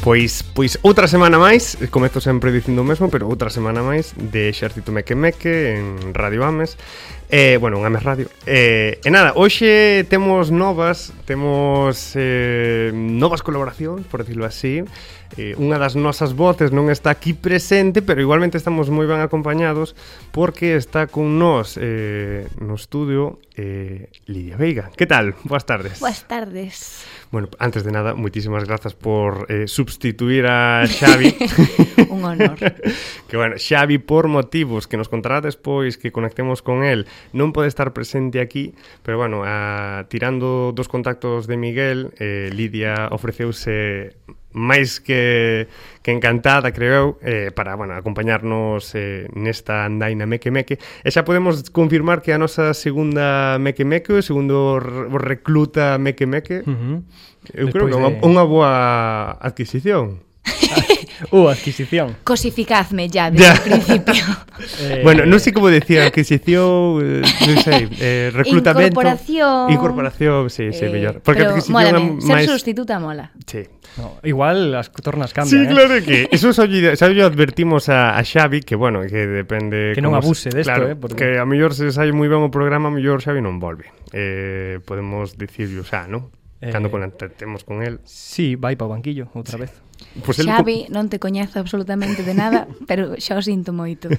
Pois, pois outra semana máis, comezo sempre dicindo o mesmo, pero outra semana máis de Xército Meque Meque en Radio Ames. Eh, bueno, en Ames Radio. Eh, e nada, hoxe temos novas, temos eh, novas colaboracións, por decirlo así. Eh, unha das nosas voces non está aquí presente, pero igualmente estamos moi ben acompañados porque está con nós eh, no estudio eh, Lidia Veiga. Que tal? Boas tardes. Buenas tardes. Bueno, antes de nada, muchísimas gracias por eh, sustituir a Xavi. Un honor. que bueno, Xavi por motivos que nos contará despois que conectemos con el non pode estar presente aquí, pero bueno, a, tirando dos contactos de Miguel, eh, Lidia ofreceuse máis que, que encantada, creo eu, eh, para bueno, acompañarnos eh, nesta andaina Meque Meque. E xa podemos confirmar que a nosa segunda Meque Meque, o segundo re- recluta Meque Meque, Ujú. eu Despois creo que é unha, de- unha boa adquisición. Uh, adquisición. Cosificadme ya desde Ya. el principio. Eh, bueno, non sei como decía, adquisición, eh, non sei, eh, reclutamento... Incorporación. Incorporación, sí, sí, Eh, mellor. Porque pero adquisición é mólame, ser máis... sustituta mola. Sí. no, igual as tornas cambian, Sí, eh. claro que. Eso xa lle, xa lle advertimos a, a Xavi que, bueno, que depende... Que non como abuse se- desto, claro, eh, Que porque- a mellor se sai moi ben o programa, a mellor Xavi non volve. Eh, podemos dicirlo xa, non? Eh... Eh, Cando contactemos con el. Sí, vai para o banquillo outra vez. Pois el Xavi, non te coñezo absolutamente de nada, pero xa o sinto moito.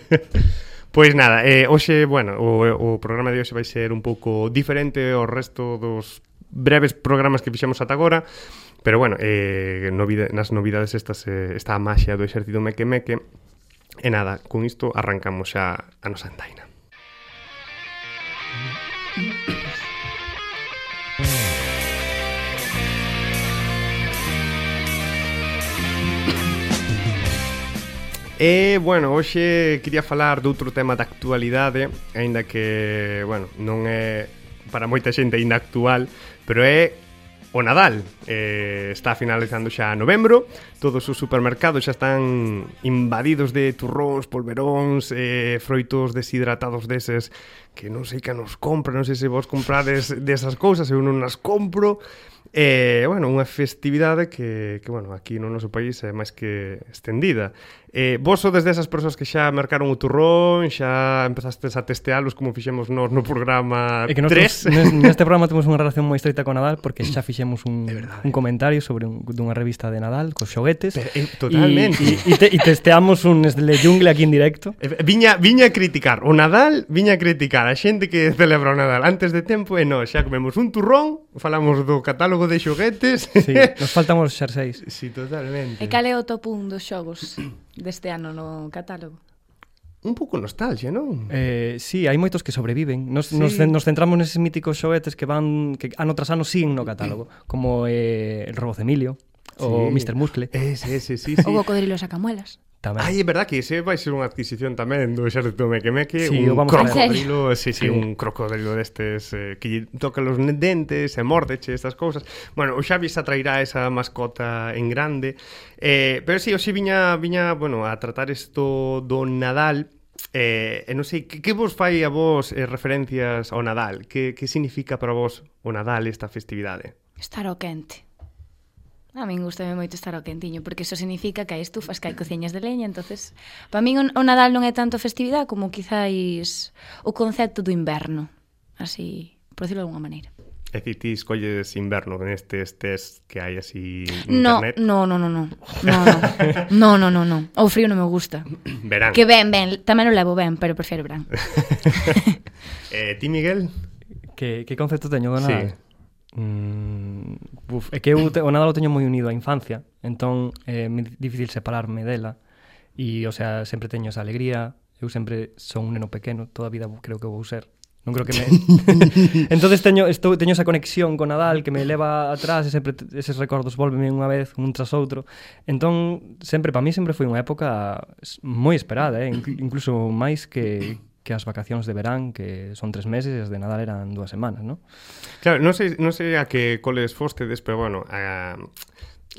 Pois nada, eh, hoxe, bueno, o, o programa de hoxe vai ser un pouco diferente ao resto dos breves programas que fixemos ata agora, pero bueno, eh, novida, nas novidades estas eh, está a maxia do exército meque meque, e nada, con isto arrancamos xa a nosa andaina. E, Eh, bueno, hoxe quería falar de outro tema da actualidade Ainda que, bueno, non é para moita xente ainda actual Pero é o Nadal eh, Está finalizando xa novembro Todos os supermercados xa están invadidos de turróns, polveróns eh, Froitos deshidratados deses Que non sei que nos compra Non sei se vos comprades desas cousas Eu non as compro E, bueno, unha festividade que, que bueno, aquí no noso país é máis que estendida. Eh, vos sodes desas persoas que xa mercaron o turrón, xa empezastes a testealos como fixemos nós no programa E que nos 3. neste programa temos unha relación moi estreita con Nadal porque xa fixemos un, un comentario sobre un, dunha revista de Nadal cos xoguetes. eh. Pero, eh, totalmente. E, e, e, te, e testeamos un Nestlé Jungle aquí en directo. Eh, Viña, viña a criticar o Nadal, viña a criticar a xente que celebra o Nadal antes de tempo e nós xa comemos un turrón, falamos do catálogo de xoguetes. Sí, nos faltan os xerseis. sí totalmente. E cal é o top 1 dos xogos deste ano no catálogo? Un pouco nostalgia, non? Eh, sí, hai moitos que sobreviven. Nos, Sí. sí. nos, cen- nos centramos neses míticos xoguetes que van que ano tras ano siguen no catálogo, como eh, el Robo de Emilio ou Sí. Eh, Mr. Muscle Ese, ese, sí, sí. O cocodrilo sacamuelas? tamén. Ai, é verdad que ese vai ser unha adquisición tamén do exército meque-meque, Sí, un o vamos a ver. crocodrilo, sí, sí, Sí. un crocodrilo destes eh, que lle toca os ne- dentes, e mordeche estas cousas. Bueno, o Xavi xa trairá esa mascota en grande. Eh, pero si, sí, o si viña, viña, bueno, a tratar isto do Nadal, Eh, e non sei, que, que vos fai a vos eh, referencias ao Nadal? Que, que significa para vos o Nadal esta festividade? Estar ao quente. A min gustame moito estar ao quentiño, porque iso significa que hai estufas, que hai cociñas de leña, entonces para min o o Nadal non é tanto festividade como quizáis o concepto do inverno, así, por decirlo de alguna maneira. É dicir, ti escolles inverno nestes test que hai así en No, internet? no, no, no, no. No, no. no, no, no, no. O frío non me gusta. Verán. Que ben, ben, tamén o levo ben, pero prefiero verán. Eh, ti, Miguel? Que, que concepto teño do Sí. Nadal? Sí. Mm, buf, é que eu te, o Nadal o teño moi unido á infancia Entón é moi difícil separarme dela E, o sea, sempre teño esa alegría Eu sempre son un neno pequeno Toda a vida creo que vou ser Non creo que me... entonces teño, estou, teño esa conexión con Nadal que me leva atrás e sempre te- eses recordos volveme unha vez un tras outro. Entón, sempre para mí sempre foi unha época s- moi esperada, eh? incl- incluso máis que, que as vacacións de verán que son tres meses e as de Nadal eran dúas semanas, non? Claro, non sei, non sei a que coles fostedes, pero bueno, a,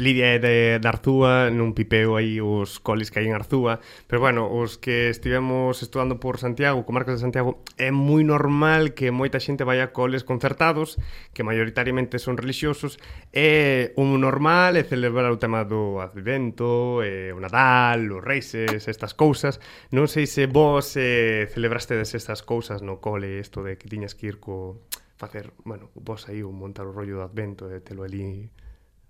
Lidia é de, de Arzúa, non pipeo aí os coles que hai en Arzúa, pero bueno, os que estivemos estudando por Santiago, comarcas de Santiago, é moi normal que moita xente vai a coles concertados, que maioritariamente son religiosos, é un normal é celebrar o tema do Advento, é o Nadal, os Reises, estas cousas. Non sei se vos eh, celebrastedes estas cousas no cole, isto de que tiñas que ir co facer, bueno, vos aí o montar o rollo do Advento e telo ali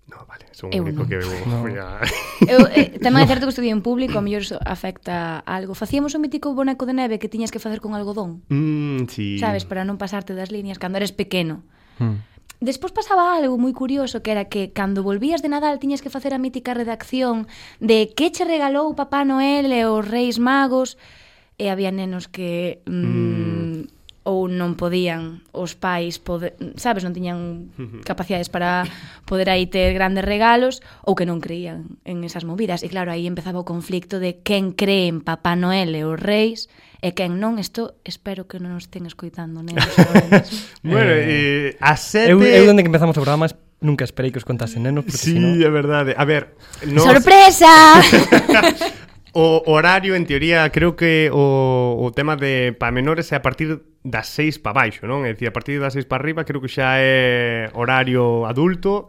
No, vale, son o Eu único non. que veo. No. Ya. Eu, eh, tamén é certo que estudiei en público, a mellor iso afecta a algo. Facíamos un mítico boneco de neve que tiñas que facer con algodón, Mm, sí. sabes, para non pasarte das líneas cando eres pequeno. Mm. Despois pasaba algo moi curioso que era que cando volvías de Nadal tiñas que facer a mítica redacción de que che regalou Papá Noel e os Reis Magos e había nenos que mm, ou non podían os pais pode, sabes, non tiñan capacidades para poder aí ter grandes regalos ou que non creían en esas movidas e claro, aí empezaba o conflicto de quen cree en Papá Noel e os Reis e quen non, isto espero que non nos estén escoitando nenos agora mesmo. Bueno, eh, Eh, a sete... Eu, eu dende que empezamos o programa es- nunca esperei que os contasen nenos, porque Sí, senón... é verdade. A ver, nos... ¡Sorpresa! o horario, en teoría, creo que o, o tema de pa menores é a partir das seis pa baixo, non? É dicir, a partir das seis pa arriba creo que xa é horario adulto.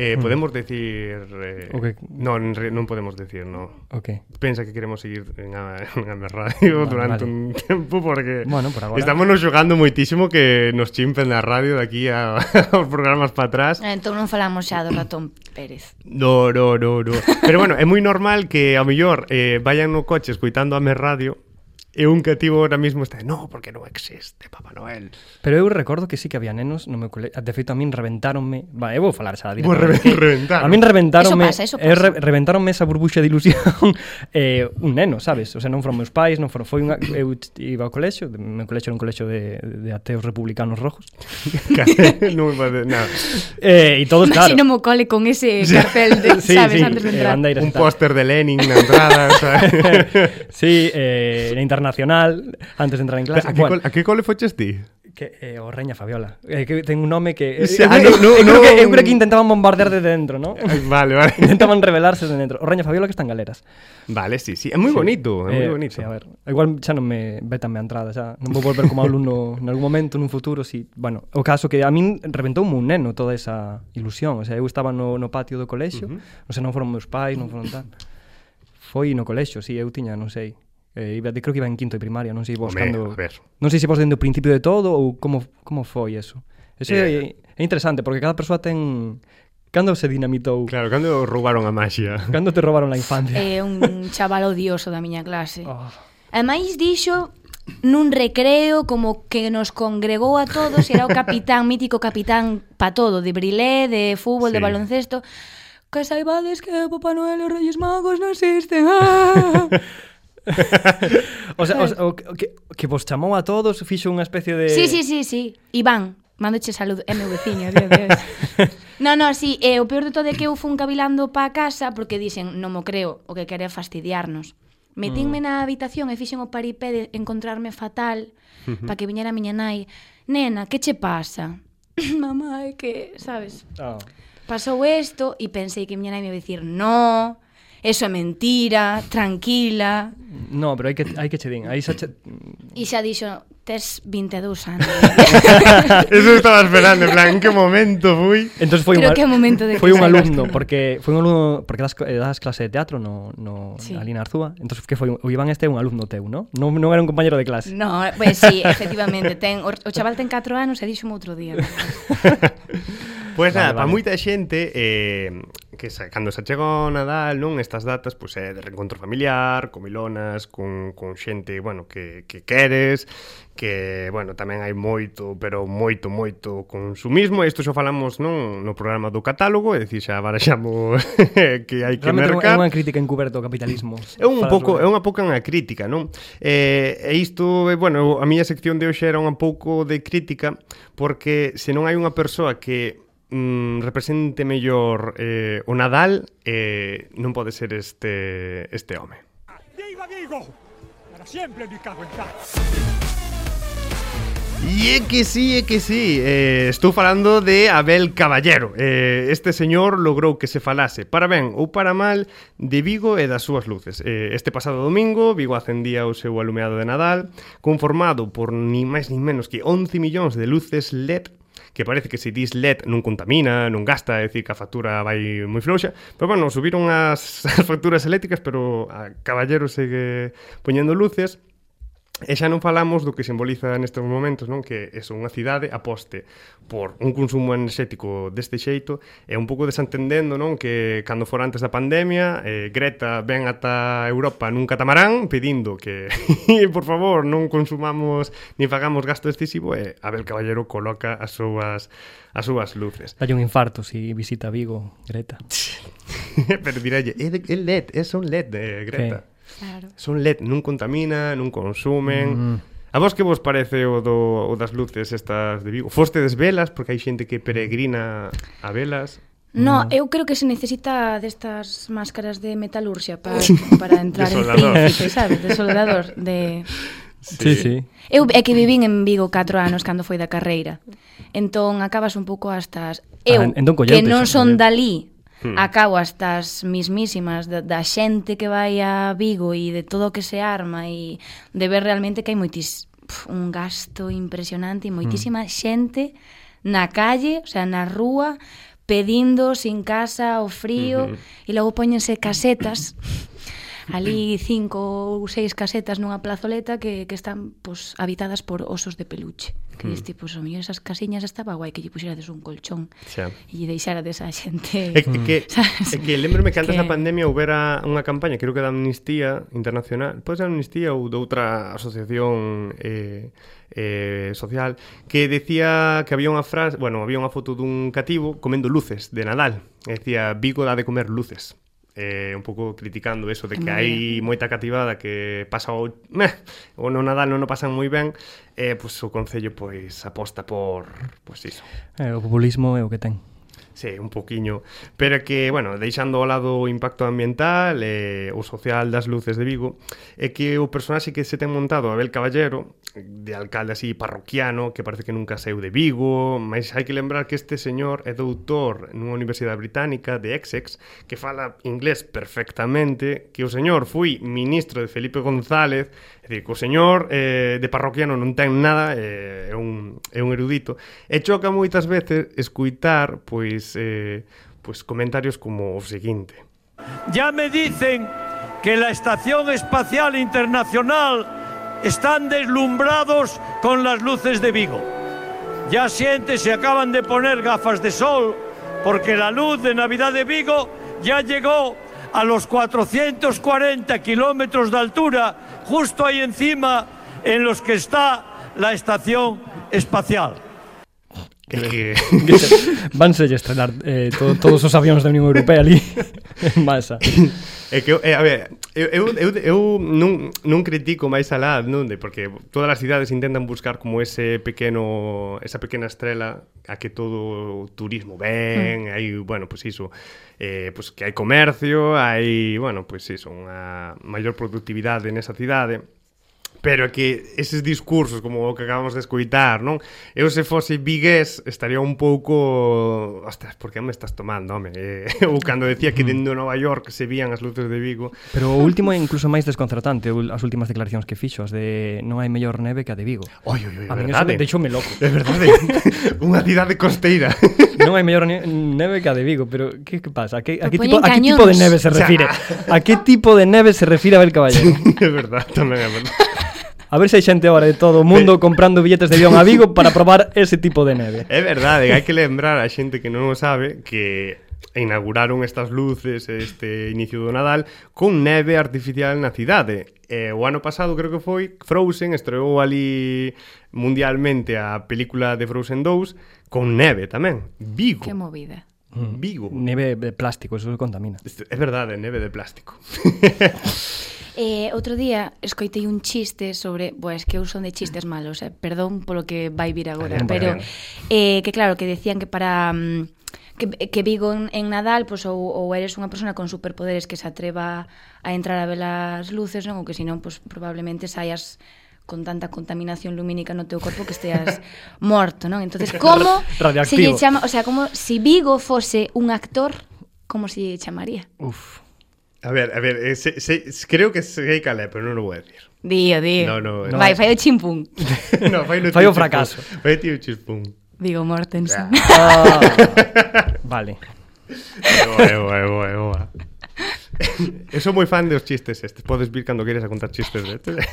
Eh, podemos decir... Eh, O que- Non, en re- non podemos decir, non. Ok. pensa que queremos seguir en a, en Ames Radio Vale, durante vale. un tempo porque Bueno, por agora. estamos nos xogando moitísimo que nos chimpen na radio de aquí a, aos programas para atrás. Ah, Entón non falamos xa do ratón Pérez. No, no, no, no. Pero bueno, é moi normal que ao mellor eh, vayan no coche escoitando Ames Radio e un cativo ahora mismo está, no, porque non existe Papá Noel. Pero eu recordo que sí que había nenos no meu cole... De feito, a min reventáronme... Va, eu vou falar xa Vou directamente. re reventar. A min Eso reventáronme, pasa, eso eh, pasa. re, reventáronme esa burbuxa de ilusión eh, un neno, sabes? O sea, non foron meus pais, non foron, foi unha, eu t- iba ao colexio, o meu colexio era un colexio de, de ateos republicanos rojos. non me parece nada. Eh, e todos claro. Imagino mo cole con ese cartel de, Sí, sabes, sí, antes de eh, entrar. bandeiras Un e tal. póster de Lenin na entrada, o sea. Sí, eh, na internacional, antes de entrar en clase. a, que col, Bueno, a que cole foches ti? que, eh, o Reña Fabiola. Eh, que ten un nome que... Eh, Sí, eu, ah, creo- no, eu no, creo que, eu no. creo que intentaban bombardear de dentro, ¿no? Ay, Vale, vale. intentaban revelarse de dentro. O Reña Fabiola que está en galeras. Vale, sí, sí. É moi bonito, é moi Eh, bonito. Sí, a ver, igual xa non me vetan a entrada, xa non vou volver como alumno nalgún momento, nun futuro, si, bueno, o caso que a min reventoume un neno toda esa ilusión, o sea, eu estaba no, no patio do colexio, uh -huh. o sea, non foron meus pais, non foron tal. Foi no colexio, si, eu tiña, non sei, eh, iba, de, creo que iba en quinto de primaria, non sei vos Home, cando... a ver. Non sei se vos dende o principio de todo ou como como foi eso. Eso Eh. eh. é, é interesante porque cada persoa ten cando se dinamitou, Claro, claro. cando roubaron a maxia. cando te robaron a infancia. É Eh, un chaval odioso da miña clase. Oh. Ademais dixo nun recreo como que nos congregou a todos, era o capitán, mítico capitán pa todo, de brilé, de fútbol, sí. de Sí. baloncesto, que saibades que Papá Noel e os Reyes Magos non existen. Ah! O sea, o, sea, o, que- o que, que vos chamou a todos, fixo unha especie de... Sí, sí, sí, sí. Iván, mándoche salud, é meu veciño, Dios, Dios. No, no, sí, eh, o peor de todo é que eu fun cavilando pa casa porque dixen, non mo creo, o que quere é fastidiarnos. Metinme na habitación e fixen o paripé de encontrarme fatal pa que viñera a miña nai. Nena, que che pasa? Mamá, é que, sabes, Oh. Ah. pasou isto e pensei que miña nai me ia dicir, no, eso é mentira, tranquila. No, pero hai que, hai que che din. Aí xa che... E xa dixo, tes 22 anos. Eso estaba esperando, en plan, en que momento fui? Entón foi Creo un, que é o momento de que foi un salgas alumno, tú. porque foi un alumno, porque das, eh, das clase de teatro no, no Sí. sí. ali na Arzúa. Entón, que foi un- o Iván este é un alumno teu, non? Non, non era un compañero de clase. No, pois sí, efectivamente, ten, o, o chaval ten 4 anos e dixo outro día. Pois pues nada, Vale, para vale. moita xente eh, que sa, cando se chega o Nadal, non estas datas, pois é de reencontro familiar, comilonas, con, con xente, bueno, que, que queres, que, bueno, tamén hai moito, pero moito, moito consumismo. Isto xa falamos non no programa do catálogo, é dicir, xa baraxamos que hai que Realmente é unha- é mercar. unha crítica encuberta ao capitalismo. É un Falas pouco, é sobre- unha pouca unha crítica, non? Eh, e isto, eh, bueno, a miña sección de hoxe era un pouco de crítica porque se non hai unha persoa que mm, represente mellor eh, o Nadal, eh, non pode ser este este home. Viva Vigo! Para sempre mi cago in cazzo! E é que sí, é que sí eh, Estou falando de Abel Caballero eh, Este señor logrou que se falase Para ben ou para mal De Vigo e das súas luces eh, Este pasado domingo Vigo acendía o seu alumeado de Nadal Conformado por ni máis ni menos que 11 millóns de luces LED que parece que se dis LED non contamina, non gasta, é dicir que a factura vai moi floxa, pero bueno, subiron as, as facturas eléctricas, pero a Caballero segue poñendo luces, E xa non falamos do que simboliza nestes momentos, non? Que eso, unha cidade aposte por un consumo enerxético deste xeito e un pouco desentendendo, non? Que cando fora antes da pandemia, eh, Greta ven ata Europa nun catamarán pedindo que, por favor, non consumamos ni pagamos gasto excesivo e Abel Caballero coloca as súas as súas luces. Dalle un infarto si visita Vigo, Greta. Pero direlle, é de- é LED, é son LED, eh, Greta. Sí. Claro. Son LED, non contamina, non consumen. Mm. A vos que vos parece o, do, o das luces estas de Vigo? Fostedes velas, porque hai xente que peregrina a velas. No, Mm. eu creo que se necesita destas máscaras de metalurxia para, para entrar en Desolador. príncipe, sabes? Desolador de... Sí, sí. Eu é que vivín en Vigo 4 anos cando foi da carreira. Entón acabas un pouco hasta as eu Ah, entón que collentes, non collentes. son dalí. Hmm. Acabo hasta as mismísimas da, da xente que vai a Vigo e de todo o que se arma e de ver realmente que hai moitis pf, un gasto impresionante e moitísima xente na calle, o sea, na rúa, pedindo sin casa o frío e logo póñense casetas Ali cinco ou seis casetas nunha plazoleta que, que están pues, habitadas por osos de peluche. Que mm. diste, pues, o mellor esas casiñas estaba guai que lle puxerades un colchón Xa. e deixarades a xente... É que, é que, Sabes? é que lembrome que antes da Que- pandemia houbera unha campaña, creo que da Amnistía Internacional, pois da Amnistía ou de outra asociación eh, eh, social, que decía que había unha frase, bueno, había unha foto dun cativo comendo luces de Nadal. E Decía, Vigo dá de comer luces. Eh, un pouco criticando eso de que Moi hai moita cativada que pasa o, meh, o no Nadal non o pasan moi ben, eh, pois o Concello pois aposta por, pois iso, Eh, o populismo é o que ten. Sí, un poquiño. Pero que, bueno, deixando ao lado o impacto ambiental e o social das luces de Vigo, é que o personaxe que se ten montado, Abel Caballero, de alcalde así parroquiano, que parece que nunca saiu de Vigo, mas hai que lembrar que este señor é doutor nunha universidade británica de Essex, que fala inglés perfectamente, que o señor foi ministro de Felipe González, é dicir, que o señor eh, de parroquiano non ten nada, eh, é un, é un erudito, e choca moitas veces escuitar pois eh, pois comentarios como o seguinte. Ya me dicen que la Estación Espacial Internacional están deslumbrados con las luces de Vigo. Ya siente, se acaban de poner gafas de sol porque la luz de Navidad de Vigo ya llegó a los 440 kilómetros de altura, justo ahí encima en los que está la Estación Espacial. Que, que, Vanse a estrenar eh, to, todos os avións da Unión Europea ali en masa. É que, eu- eh, a ver, eu, eu, eu, eu non, non critico máis alá, non? De, porque todas as cidades intentan buscar como ese pequeno, esa pequena estrela a que todo o turismo ven, mm. hai, bueno, pois pues iso, eh, pois que hai comercio, hai, bueno, pois pues iso, unha maior productividade nesa cidade. Pero é que eses discursos como o que acabamos de escoitar, non? Eu se fose vigués estaría un pouco, ostras, por que me estás tomando, home? Eh, ou cando decía que dentro de Nova York se vían as luces de Vigo. Pero o último é incluso máis desconcertante ul- as últimas declaracións que fixo, as de non hai mellor neve que a de Vigo. Oi, oi, oi, A é min eso verdade. me deixoume loco. É verdade. Unha cidade costeira. Non hai mellor ne- neve que a de Vigo, pero que, que pasa? A que, a que, tipo, Propoñen a que tipo de cañóns. neve se O sea- refire? A que tipo de neve se refire Abel Caballero? é verdade, tamén é verdade. A ver se hai xente agora de todo o mundo comprando billetes de avión a Vigo para probar ese tipo de neve. É verdade, hai que lembrar a xente que non o sabe que inauguraron estas luces este inicio do Nadal con neve artificial na cidade. E o ano pasado creo que foi Frozen estreou ali mundialmente a película de Frozen 2 con neve tamén. Vigo. Que movida. Mm. Vigo. Neve de plástico, eso contamina. Este- É verdade, neve de plástico. Eh, outro día escoitei un chiste sobre, boa, es que eu son de chistes malos, eh? perdón polo que vai vir agora, Ben, pero ben. eh, que claro, que decían que para mm, que, que Vigo en, en Nadal, pois ou, ou eres unha persona con superpoderes que se atreva a entrar a ver as luces, non, ou que senón pois probablemente saias con tanta contaminación lumínica no teu corpo que esteas morto, non? Entonces, como se lle Radioactivo. chama, o sea, como se si Vigo fose un actor, como se lle chamaría? Uf. A ver, a ver, eh, se- se- creo que sei cal é, pero non o vou a decir. Dío, dío. No, no, no. Vai, fai o chimpún. no, fai no Fai tío chispún. o fracaso. Fai tío chispún. Vigo Ya. Mortensen. Ah. vale. É boa, é boa, é boa, é boa. Eu sou moi fan dos chistes estes. Podes vir cando queres a contar chistes destes.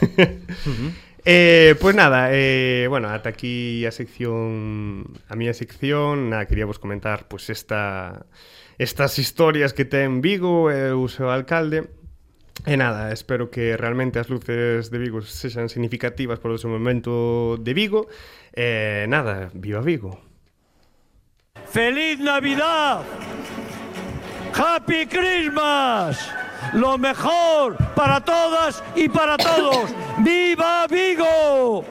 Eh, pois nada, eh, bueno, ata aquí a sección a miña sección, nada, quería vos comentar pois esta estas historias que ten Vigo e o seu alcalde. E nada, espero que realmente as luces de Vigo sexan significativas para o seu momento de Vigo. Eh, nada, viva Vigo. ¡Feliz Navidad! ¡Happy Christmas! Lo mejor para todas y para todos. ¡Viva Vigo!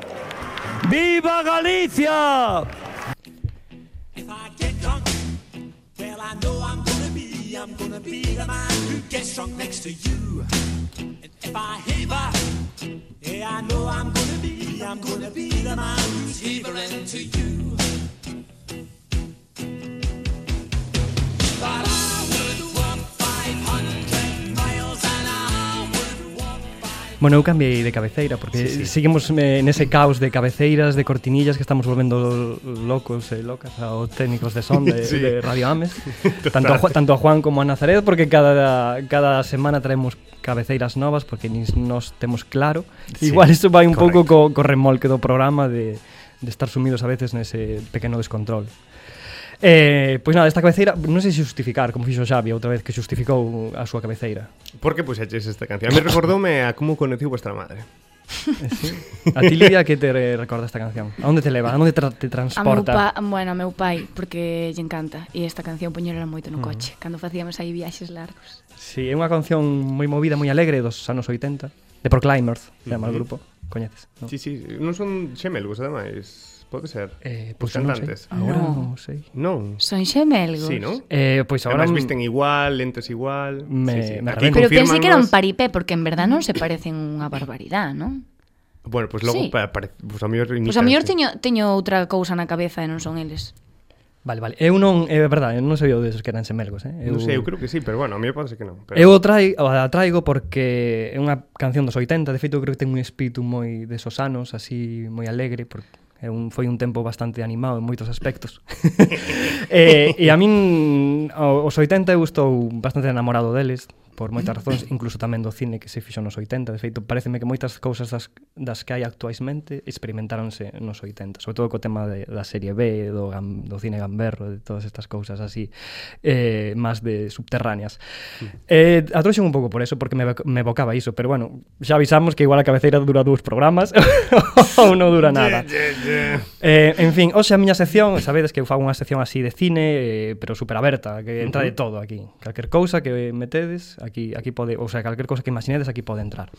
¡Viva Galicia! If I get drunk, well, I know I'm gonna be, I'm gonna be the man who gets drunk next to you. And if I heaver, yeah, I know I'm gonna be, I'm gonna be the man who's heavering to you. But I would walk 500 miles and I would walk. Bueno, eu cambiei de cabeceira porque sí, sí. seguimos eh, nese caos de cabeceiras, de cortinillas que estamos volvendo locos e eh, locas aos técnicos de son de, Sí. sí. de Radio Ames, tanto a, Ju- tanto a Juan como a Nazaret, porque cada cada semana traemos cabeceiras novas porque nin nos temos claro. Sí, Sí, Igual iso vai un correcto. pouco co, co remolque do programa de de estar sumidos a veces nese pequeno descontrol. Eh, pois nada, esta cabeceira non sei se justificar, como fixo Xavi outra vez que justificou a súa cabeceira. Por que puxeches esta canción? A mí recordoume a como conocí vuestra madre. A ti, Lidia, que te re- recorda esta canción? ¿A dónde te leva? ¿A dónde tra- te A meu transporta? pa, bueno, a meu pai, porque lle encanta. E esta canción poñerola moito Mm. no coche, cando facíamos aí viaxes largos. Sí, é unha canción moi movida, moi alegre dos anos 80, de Proclimers, se chama o Ujú. grupo. Coñeces, non? Sí, sí, non son xemelgos, ademais. Pode ser. Eh, Os pois eu non sei. cantantes. Agora No. non sei. Non. Son xemelgos. Sí, non? Eh, pois Ahora agora Además visten igual, lentes igual. sí, Me- sí. me Aquí arrebento. Pero pensei que era confírmannos- un paripé, porque en verdad non se parecen unha barbaridade, non? Bueno, pues logo Sí. pa- pare- pues a mellor Pois imitan, a mellor sí. teño, teño outra cousa na cabeza e non son eles. Vale, vale. Eu non, é verdade, eu non sabía deses que eran semelgos, eh? Non sei, eu creo que sí, pero bueno, a mellor pode ser que non. Pero... Eu o trai, o a traigo porque é unha canción dos 80, de feito eu creo que ten un espírito moi desos anos, así moi alegre, porque é un, foi un tempo bastante animado en moitos aspectos. Eh, e, e a min o- os 80 eu estou bastante enamorado deles, por moitas razóns, incluso tamén do cine que se fixo nos 80, de feito pareceme que moitas cousas das, das que hai actuaismente experimentaronse nos 80, sobre todo co tema de, da serie B, do, gam, do cine gamberro, de todas estas cousas así, eh, máis de subterráneas. Eh, atroxen un pouco por eso, porque me, evo- me evocaba iso, pero bueno, xa avisamos que igual a cabeceira dura dous programas ou non dura nada. Eh, en fin, hoxe a miña sección, sabedes que eu fago unha sección así de cine, eh, pero super aberta, que entra de todo aquí. Calquer cousa que metedes, aquí aquí pode, ou sea, calquer cousa que imaginedes aquí pode entrar.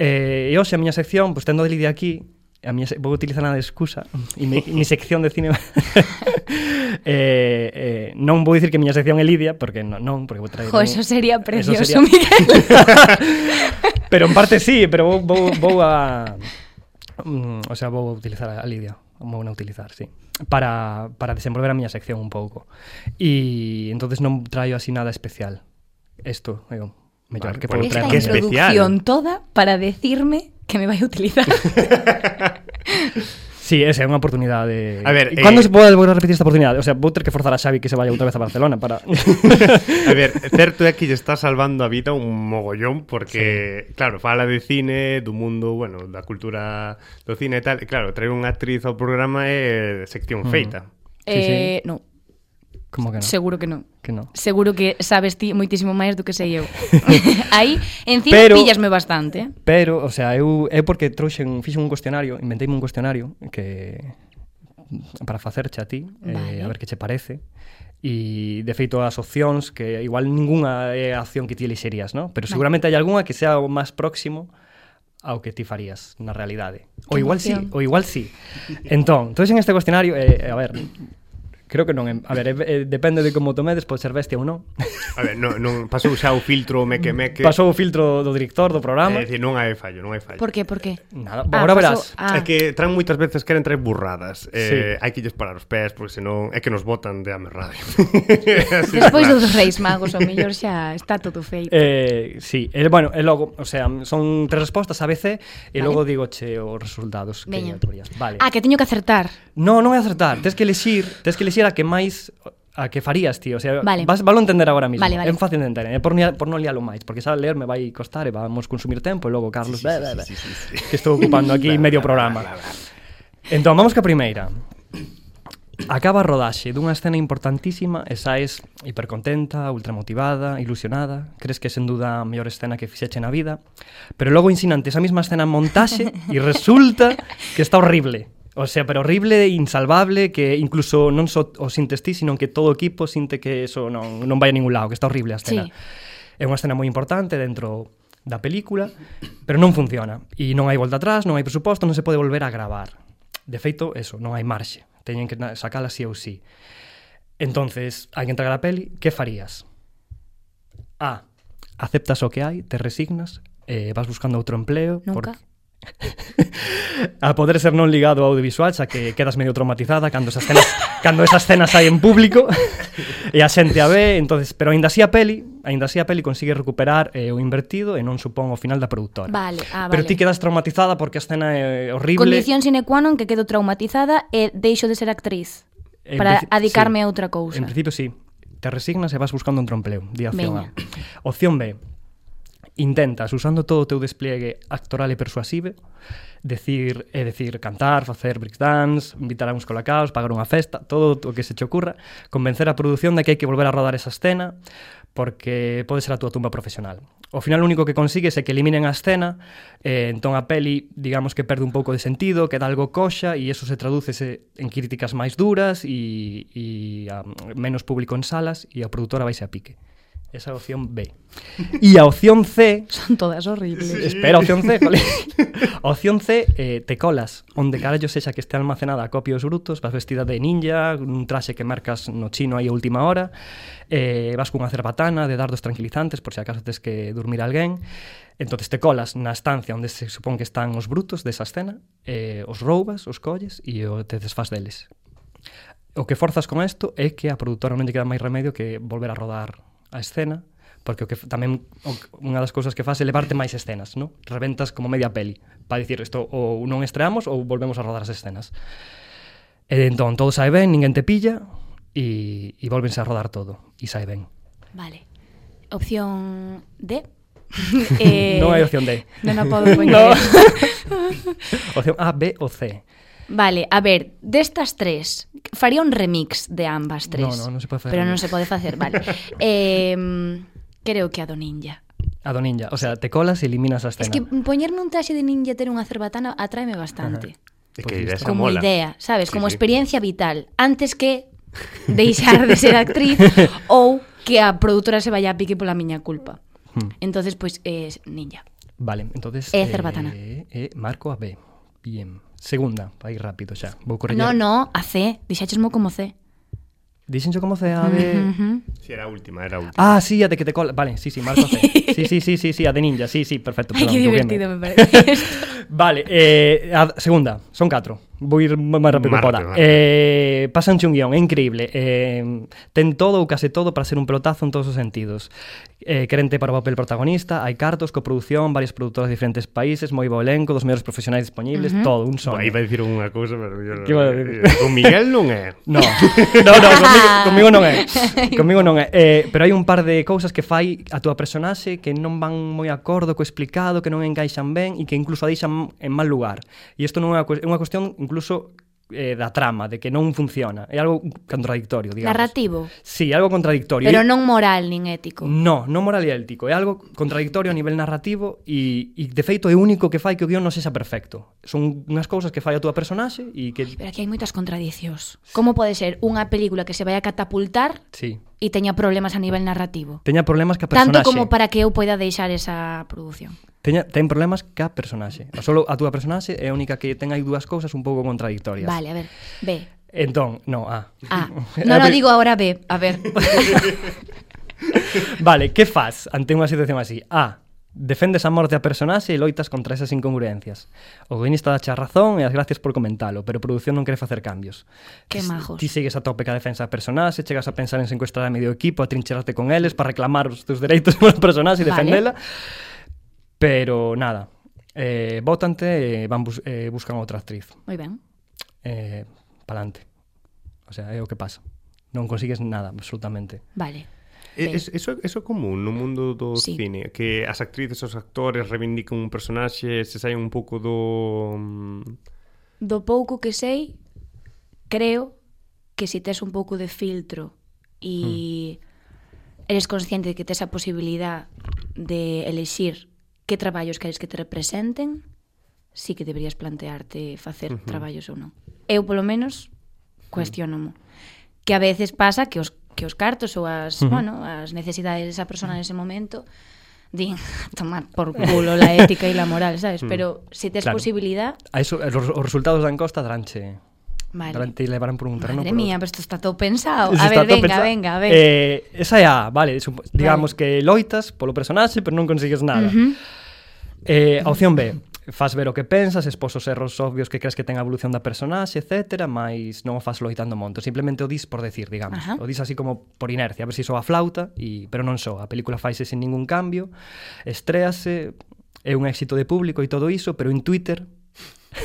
Eh, e hoxe a miña sección, pois tendo a Lidia aquí, a miña se- vou utilizar a de excusa e mi, mi sección de cine eh, eh, non vou dicir que a miña sección é Lidia porque non, non porque vou traer Jo, un- eso sería eso precioso, sería- Miguel. pero en parte sí, pero vou, vou, vou a... Mm, o sea, vou a utilizar a Lidia. Vou a utilizar, sí. Para, para desenvolver a miña sección un pouco. E entonces non traio así nada especial. Isto, é o Vale, mellor que bueno, podo Outra Esta traer. que na miña- especial. introducción toda para decirme que me vai utilizar. Sí, esa é unha oportunidade. A ver, E cando eh, se pode volver a repetir esta oportunidade? O sea, vou ter que forzar a Xavi que se vaya outra vez a Barcelona para A ver, certo é que lle está salvando a vida un mogollón porque, sí. claro, fala de cine, do mundo, bueno, da cultura do cine e tal. E claro, traer unha actriz ao programa é sección Mm. feita. Sí, sí. eh, no, Como que non? seguro que non. Que non. Seguro que sabes ti moitísimo máis do que sei eu. Aí, en cine Pero- pillasme bastante. Pero, o sea, eu é porque trouxen, fixen un cuestionario, inventeime un cuestionario que para facerche a ti, Vale. eh, a ver que che parece. E de feito as opcións que igual ningunha é a opción que ti elixerías, ¿no? Pero Vale. seguramente hai algunha que sea o máis próximo ao que ti farías na realidade. Que O igual sí, emoción. o igual sí. Entón, trouxen este cuestionario, eh, a ver, Creo que non, é- a ver, é, é, depende de como tomedes, pode ser bestia ou non. A ver, non, non pasou xa o filtro meque meque. Pasou o filtro do director É do Ah, programa. dicir, non hai fallo, non hai fallo. Por que, por que? Ah, Nada, agora verás. É que traen moitas veces queren traer burradas. Eh, Sí. hai que lles parar os pés porque senón é que nos botan de ame radio. Despois dos Reis Magos, ao mellor xa está todo feito. Eh, sí, e, bueno, e logo, o sea, son tres respostas a veces e Vale. logo digo che os resultados que Veña. atorías. Vale. Ah, que teño que acertar. No, non é acertar, tes que elixir, tes que elixir a que máis a que farías, tío, o sea, Vale. vas valo entender agora mismo. Vale, vale. É fácil de entender, é por, nia- por non lialo máis, porque xa ler me vai costar e vamos consumir tempo e logo Carlos, sí, sí, sí, sí, sí, sí. que estou ocupando aquí medio programa. Entón, vamos ca primeira. Acaba a rodaxe dunha escena importantísima e saes hipercontenta, ultramotivada, ilusionada, crees que é sen duda a mellor escena que fixeche na vida, pero logo insinante esa mesma escena en montaxe e resulta que está horrible. O sea, pero horrible, insalvable, que incluso non só o sintes ti, sino que todo o equipo sinte que eso non, non vai a ningún lado, que está horrible a Sí. escena. É unha escena moi importante dentro da película, pero non funciona. E non hai volta atrás, non hai presuposto, non se pode volver a gravar. De feito, eso, non hai marxe. Teñen que na- sacala sí ou sí. Entonces, hai que entregar a peli, que farías? A. Aceptas o que hai, te resignas, eh, vas buscando outro empleo. Nunca. a poder ser non ligado ao audiovisual, xa que quedas medio traumatizada cando esas cenas, cando esas cenas hai en público e a xente a ve, entonces, pero aínda así a peli, aínda así a peli consigue recuperar eh, o invertido e non supón o final da produtora. Vale, ah, Pero vale. ti quedas traumatizada porque a escena é horrible. Condición sine qua non que quedo traumatizada e deixo de ser actriz En para princi- adicarme sí. a outra cousa. En principio sí. Te resignas e vas buscando outro empleo. Di opción Veña. A. Opción B. Intentas, usando todo o teu despliegue actoral e persuasive, decir, é decir, cantar, facer breakdance, invitar a uns colacaos, pagar unha festa, todo o que se che ocurra, convencer a produción de que hai que volver a rodar esa escena, porque pode ser a túa tumba profesional. Ao final, o único que consigues é que eliminen a escena, eh, entón a peli, digamos que perde un pouco de sentido, queda algo coxa, e eso se traduce se, en críticas máis duras e, e a, menos público en salas, e a produtora vaise a pique. Esa é a opción B. E a opción C, Son todas horribles. Espera, opción C, jolín. Opción C, eh, te colas. Onde carallo sexa que este almacenada a copios brutos, vas vestida de ninja, un traxe que marcas no chino aí a última hora, eh, vas cunha cerbatana de dardos tranquilizantes por se acaso tes que dormir alguén. Entonces te colas na estancia onde se supón que están os brutos desa escena, eh, os roubas, os colles e o te desfás deles. O que forzas con isto é que a produtora non lle queda máis remedio que volver a rodar a escena, porque o que f- tamén o, que- unha das cousas que faz é levarte máis escenas, non? Reventas como media peli, para dicir isto ou non estreamos ou volvemos a rodar as escenas. E entón todo sai ben, ninguén te pilla e, e volvense a rodar todo e sai ben. Vale. Opción D. eh, Non hai opción D. Non a podo poñer. No. Opción A, B ou C. Vale, a ver, destas tres, faría un remix de ambas tres. No, no, non se pode facer Pero non remix. se pode facer, vale. eh, creo que a do ninja. A do ninja, o sea, te colas e eliminas a Es escena. que poñerme un traxe de ninja e ter unha cerbatana atraeme bastante. É que a idea esa como mola. idea, sabes, Sí, como sí. experiencia vital, antes que deixar de ser actriz ou que a produtora se vaya a pique pola miña culpa. Hmm. Entonces, pois, pues, eh, ninja. Vale, entonces É cerbatana. eh, eh, marco a B. Bien. Segunda, para ir rápido xa. Vou correr. No, no, a C, dixáchesmo como C. Dixencho como C, a B. Ujú. Si era a última, era a última. Ah, sí, a de que te cola. Vale, sí, sí, marco a C. Sí, sí, sí, sí, sí, a de ninja. Sí, sí, perfecto. Ai, perdón, que buguéme. divertido me parece isto. Vale, eh, a segunda, son 4 Vou ir mo- máis rápido que Máis poda rápido, máis eh, Pasan un guión, é increíble eh, Ten todo ou case todo para ser un pelotazo en todos os sentidos eh, Querente para o papel protagonista Hai cartos, coproducción, varias productoras de diferentes países Moi bo elenco, dos mellores profesionais disponibles Todo, un Bueno, sonho iba a dicir unha cousa, pero yo Que iba a dicir? Con Miguel non é. No, no, no comigo, comigo non é. Comigo non é. Eh, pero hai un par de cousas que fai a túa personaxe que non van moi acordo co explicado, que non encaixan ben e que incluso a deixan en mal lugar. E isto non é unha, cues- é unha cuestión incluso eh, da trama, de que non funciona. É algo contradictorio, digamos. Narrativo, Sí, algo contradictorio. pero E- non moral nin ético. No, non moral e ético. É algo contradictorio a nivel narrativo e, e de feito é o único que fai que o guión non sexa perfecto. Son unhas cousas que fai a túa personaxe e que... Pero aquí hai moitas contradicións. Como pode ser unha película que se vai a catapultar Sí. e teña problemas a nivel narrativo? Teña problemas que a personaxe... Tanto como para que eu poida deixar esa produción. Teña, ten problemas ca personaxe. O solo a túa personaxe é a única que ten aí dúas cousas un pouco contradictorias. Vale, a ver. B. Entón, no, ah. Ah, non A o ver- digo ahora B, a ver. Vale, que faz ante unha situación así? A. Defendes a morte a personaxe e loitas contra esas incongruencias. O guionista dache a razón e as gracias por comentalo, pero produción non quere facer cambios. Que Ti- majos. Ti segues a tope ca defensa a personaxe, chegas a pensar en se encuestar a medio equipo, a trincherarte con eles para reclamar os teus dereitos como personaxe Vale. e defendela. Pero nada, eh, votante e van bus eh, buscan outra actriz. Moi ben. Eh, palante. O sea, é o que pasa. Non consigues nada, absolutamente. Vale. E- Ben. es- Eso, eso é común no mundo do sí. Sí. cine Que as actrices, os actores reivindican un personaxe Se saen un pouco do... mm, Do pouco que sei, creo que si tes un pouco de filtro e eres consciente de que tes a posibilidad de elixir que traballos queres que te representen, sí que deberías plantearte facer uh -huh. traballos ou non. Eu, polo menos, cuestiono Que a veces pasa que os que os cartos ou as, uh -huh. bueno, as necesidades desa persona nese momento din tomar por culo la ética e la moral, sabes? Pero se tes claro. Claro. posibilidad, A eso, eh, los, os resultados da encosta daranche. vale. Daranche e levarán por un terreno. Madre por mía, pero outro. isto está todo pensado. Se A ver, está todo venga, pensa- venga, a ver. Eh, esa é a, vale, supo, digamos que loitas polo personaxe, pero non consigues nada. Ujú. Eh, a opción B, faz ver o que pensas, expós os erros obvios que crees que ten a evolución da personaxe, etc, mais non o faz loitando monto, simplemente o dis por decir, digamos. Ajá. O dis así como por inercia, a ver se si soa a flauta, e pero non soa. A película faise sen ningún cambio, estréase, é un éxito de público e todo iso, pero en Twitter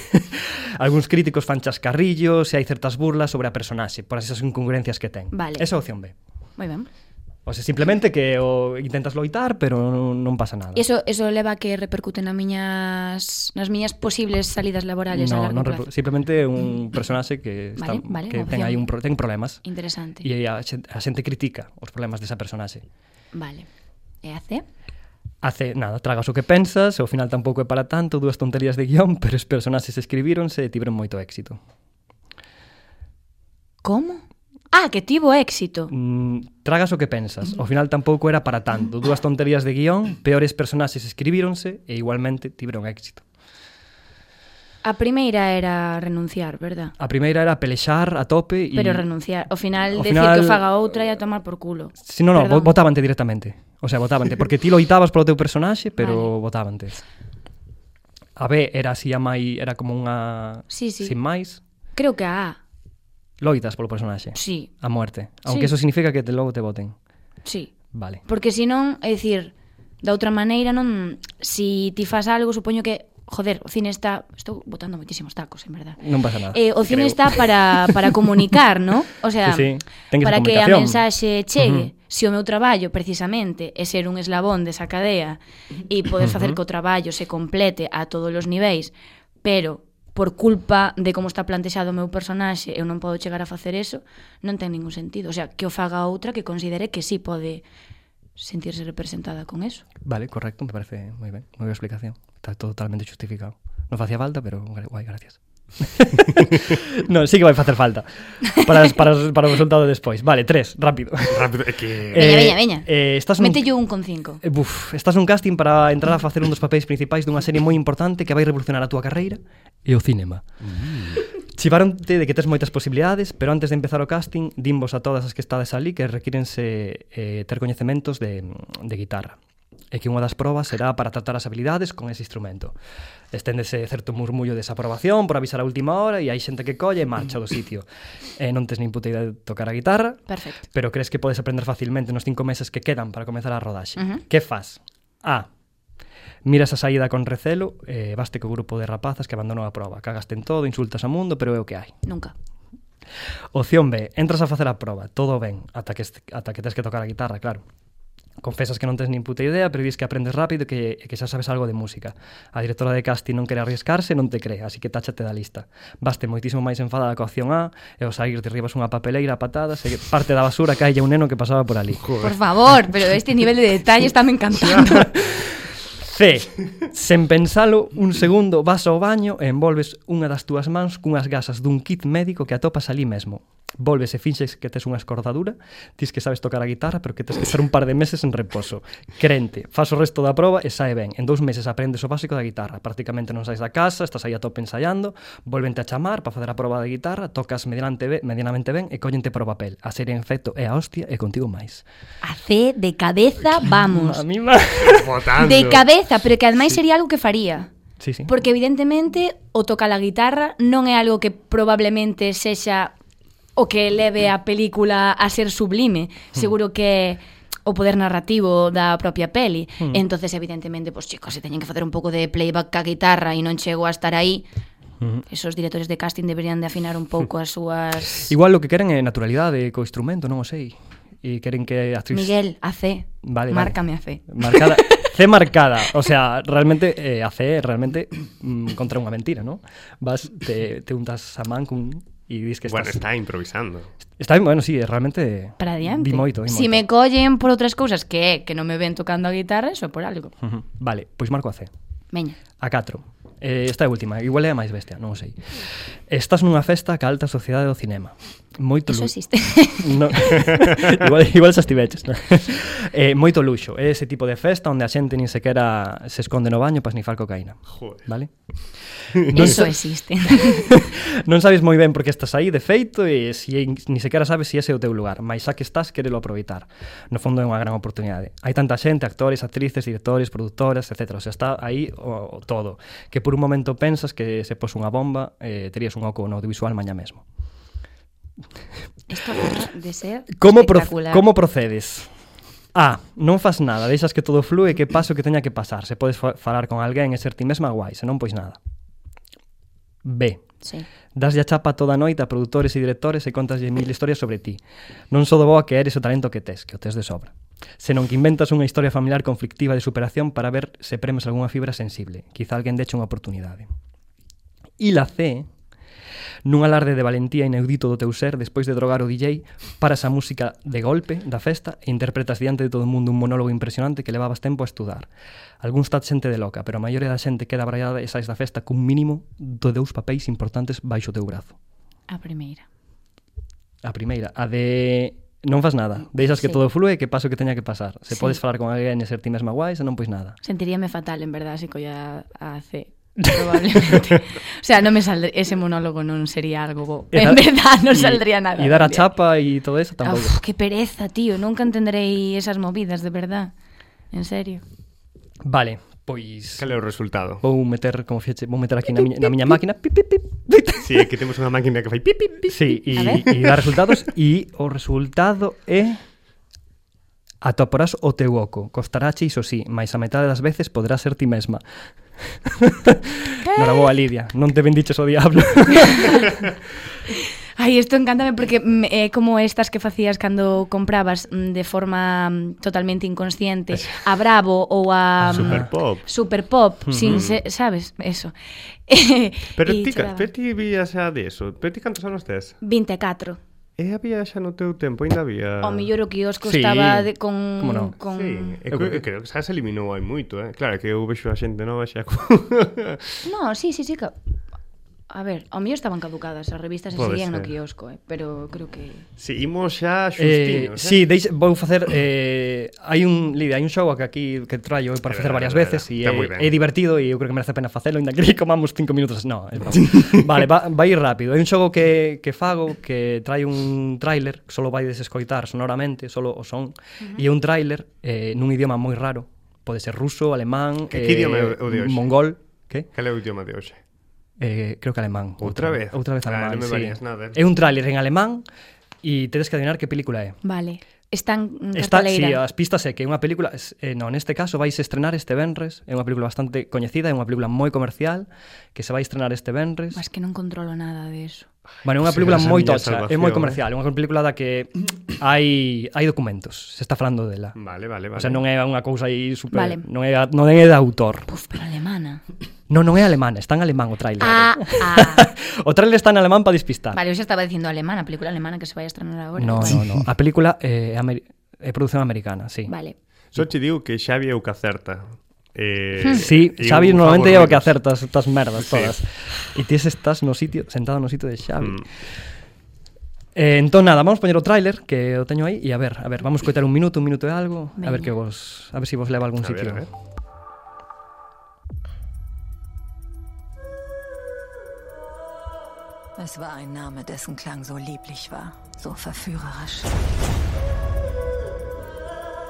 Alguns críticos fan chascarrillos e hai certas burlas sobre a personaxe por esas incongruencias que ten. Vale. Esa é a opción B. Moi ben. O sea, simplemente que o intentas loitar, pero non, non pasa nada. Eso, eso leva a que repercute na miñas, nas miñas posibles salidas laborales a no, largo non plazo. repro- simplemente un personaxe que está, Vale, vale, que opción ten aí B. un pro, ten problemas Interesante. e aí a, xen- a xente critica os problemas desa personaxe. Vale. E a C? Hace nada, tragas o que pensas, ao final tampouco é para tanto, dúas tonterías de guión, pero os personaxes escribíronse e tiveron moito éxito. Como? Ah, que tivo éxito. Mm, tragas o que pensas, ao final tampouco era para tanto, dúas tonterías de guión, peores personaxes escribíronse e igualmente tiveron éxito. A primeira era renunciar, verdad? A primeira era pelexar a tope e Pero renunciar, ao final, Ao decir final- que o faga outra e a tomar por culo. Si, no, no, Perdón. votábante directamente. O sea, votábante, porque ti loitabas polo teu personaxe, pero Vale. votábante. A B era así a mai, era como unha Sí, sí. sin máis, Creo que a A. loitas polo personaxe Sí, a morte, aunque Sí. eso significa que te logo te voten. sí. Vale. Porque se non, é dicir, da outra maneira non, si ti fas algo, supoño que, joder, o cine está, estou botando moitísimos tacos, en verdad. Non pasa nada. Eh, o cine creo. está para, para comunicar, ¿no? O sea, Sí, sí, ten que ser para que a comunicación. mensaxe chegue. Uh -huh. Se o meu traballo, precisamente, é ser un eslabón desa cadea e poder facer que o traballo se complete a todos os niveis, pero por culpa de como está plantexado o meu personaxe eu non podo chegar a facer eso, non ten ningún sentido. O sea, que o faga outra que considere que sí pode sentirse representada con eso. Vale, correcto, me parece moi ben. Moi boa explicación. Está todo totalmente justificado. Non facía falta, pero gra- guai, gracias. non, sí que vai facer falta para, as- para, as- para o resultado despois. Vale, tres, rápido. Rápido, é que... Veña, veña, veña. Eh, estás nun- Mete yo un con cinco. Eh, Buf, estás nun casting para entrar a facer un dos papéis principais dunha serie moi importante que vai revolucionar a túa carreira e o cinema. Mm. Chivaronte de que tes moitas posibilidades, pero antes de empezar o casting, dimbos a todas as que estades ali que requírense eh, ter coñecementos de, de guitarra e que unha das probas será para tratar as habilidades con ese instrumento. Esténdese certo murmullo de desaprobación por avisar a última hora e hai xente que colle e marcha do sitio. E non tes nin puta idea de tocar a guitarra, Perfecto. pero crees que podes aprender facilmente nos cinco meses que quedan para comezar a rodaxe. Uh Ujú. -huh. Que faz? A. Miras a saída con recelo, eh, baste co grupo de rapazas que abandonou a proba. Cagaste en todo, insultas ao mundo, pero é o que hai. Nunca. Opción B, entras a facer a proba, todo ben, ata que, est- ata que tens que tocar a guitarra, claro. Confesas que non tens nin puta idea, pero dis que aprendes rápido e que, e que xa sabes algo de música. A directora de casting non quere arriscarse e non te cree, así que táchate da lista. Baste moitísimo máis enfadada coa opción A e ao sair derribas unha papeleira a patadas e que parte da basura cae un neno que pasaba por ali. Por favor, pero este nivel de detalles está me encantando. C. Sen pensalo un segundo vas ao baño e envolves unha das túas mans cunhas gasas dun kit médico que atopas ali mesmo. Volves e finxes que tes unha escordadura, dis que sabes tocar a guitarra, pero que tes que estar un par de meses en reposo. Crente, fas o resto da proba e sae ben. En dous meses aprendes o básico da guitarra. Prácticamente non sais da casa, estás aí a tope ensaiando, volvente a chamar para facer a proba da guitarra, tocas medianamente ben, medianamente ben e collente pro papel. A serie en feto é a hostia e contigo máis. A C de cabeza, vamos. A mí má... Votando. De cabeza, pero que ademais sería algo que faría. Sí, sí. Porque evidentemente o toca la guitarra non é algo que probablemente sexa o que leve a película a ser sublime. Mm. Seguro que é o poder narrativo da propia peli. Mm. Entonces, evidentemente, pues chicos, se teñen que facer un pouco de playback ca guitarra e non chego a estar aí. Mm. Esos directores de casting deberían de afinar un pouco as súas... Igual lo que queren é naturalidade co instrumento, non o sei. E queren que a actriz... Miguel, a C. Vale, vale. Márcame a C. Marcada. C marcada. O sea, realmente, eh, a C realmente mm, contra unha mentira, ¿no? Vas, te, te untas a man cun... E dis que Bueno, estás... está improvisando. está... bien, bueno, sí, é realmente... Para adiante. Di moito, di moito. Si me collen por outras cousas que é que non me ven tocando a guitarra, eso é por algo. Ujú. Vale, pois marco a C. Veña. A 4. Eh, esta é a última, igual é a máis bestia, non o sei. Estás nunha festa ca alta sociedade do cinema. Moito Eso lu- existe. No. igual, igual xa estiveches no? eh, Moito luxo É ese tipo de festa onde a xente nin sequera Se esconde no baño para snifar cocaína Joder. Vale? Eso existe. Non sabes moi ben por que estás aí, de feito, e si, ni sequera sabes se ese é o teu lugar, mais xa que estás, quérelo aproveitar. No fondo é unha gran oportunidade. Hai tanta xente, actores, actrices, directores, productoras, etc. O sea, está aí o, o todo. Que por un momento pensas que se pos unha bomba, eh, terías un oco no audiovisual mañá mesmo. Esto acaba de ser Como, pro, espectacular. como procedes? A. Non fas nada, deixas que todo flúe que paso que teña que pasar. Se podes fa- falar con alguén e ser ti mesma, guai, se non pois nada. B. Sí. Daslle a chapa toda a noite a produtores e directores e contaslle mil historias sobre ti. Non só do boa que eres o talento que tes, que o tes de sobra. Senón que inventas unha historia familiar conflictiva de superación para ver se premes algunha fibra sensible. Quizá alguén deche unha oportunidade. E la C, nun alarde de valentía inaudito do teu ser despois de drogar o DJ, paras a música de golpe da festa e interpretas diante de todo o mundo un monólogo impresionante que levabas tempo a estudar. Algúns está xente de loca, pero a maioria da xente queda brallada e sais da festa cun mínimo de dous papéis importantes baixo o teu brazo. A primeira. A primeira, a de non fas nada, deixas que Sí. todo flúe e que paso que teña que pasar. Sí. Se podes falar con alguén e ser ti mesma guai, se non pois nada. Sentiríame fatal, en verdad, se colla a C. Probablemente. o sea, non me saldría... Ese monólogo non sería algo bo. E En dar- verdad, non e- saldría nada. E dar a Bien. chapa e todo eso tampouco. Uf, que pereza, tío. Nunca entenderei esas movidas, de verdad. En serio. Vale, pois Cal é o resultado? Vou meter como fieche, vou meter aquí na miña, na miña máquina. Pip, pip, pip, pip. Si, é que temos unha máquina que fai pip, pip, pip. Sí, e, A ver. e dá resultados e o resultado é atoparás o teu oco. Costarache iso sí, mais a metade das veces podrás ser ti mesma. Noraboa, Lidia, non te bendiches o diablo. Ai, isto encántame porque mm, é como estas que facías cando comprabas mm, de forma mm, totalmente inconsciente a Bravo ou a mm, Super pop. Super Pop, sin se, sabes, eso. Mm-hmm. Pero E ti, ca- chegaba. pero ti vía xa deso. Pero ti cantos anos tes? 24. E había xa no teu tempo, ainda había... Ao mellor o quiosco Sí. estaba de, con... Como non? con... Sí, e creo, Eu creo que- creo que xa se eliminou hai moito, eh? Claro, que eu vexo a xente nova xa co... No, sí, sí, sí, que... A ver, ao mellor estaban caducadas, as revistas e Pode seguían no ser. quiosco, eh? pero creo que... Si, imos xa Eh, xustiños, sí, deixe, vou facer eh, hai un Lidia, hai un show que aquí que traio eu para É facer verdade, varias é verdade. veces e Está é, moi ben. é divertido e eu creo que merece a pena facelo, ainda que comamos cinco minutos. No, é broma. vale, va, vai ir rápido. Hai un xogo que, que fago que trai un tráiler, que solo vai desescoitar sonoramente, solo o son, e é un tráiler eh, nun idioma moi raro. Pode ser ruso, alemán, eh, Que- que idioma é o- o de hoxe? mongol, que? Cal é o idioma de hoxe? Eh, creo que alemán. Outra vez? Outra vez Ah, alemán, non me sí. varías nada. É un tráiler en alemán e tedes que adivinar que película é. Vale, están en Está, si, carteleira. as pistas é que é unha película es- eh, No, neste caso vais estrenar este Benres É unha película bastante coñecida É unha película moi comercial Que se vai estrenar este Benres Mas que non controlo nada de eso. Bueno, é unha Pues película será esa moi miña tocha É salvación, moi eh. comercial É unha película da que hai, hai documentos Se está falando dela Vale, vale, vale. O sea, non é unha cousa aí super... Vale. Non é, non é de autor Puf, pero alemana. Non, non é alemana, está en alemán o trailer Ah, ah. O trailer está en alemán para despistar Vale, eu xa estaba dicindo alemana, película alemana que se vai a estrenar agora. No, vale. no, no A película eh, é, amer... é produción americana, sí Vale. Só te digo que xa había o que acerta. Eh, Sí, e Xavi un normalmente favor lleva que menos. hacer tas, tas merdas Sí. todas. E tis estás no sitio, sentado no sitio de Xavi. Mm. Eh, entón nada, vamos poñer o tráiler que o teño aí e a ver, a ver, vamos coitar un minuto, un minuto e algo, a Veña. ver que vos, a ver si vos leva a A algún ver, sitio. a ver. Es war ein Name, dessen Klang so lieblich war, so verführerisch.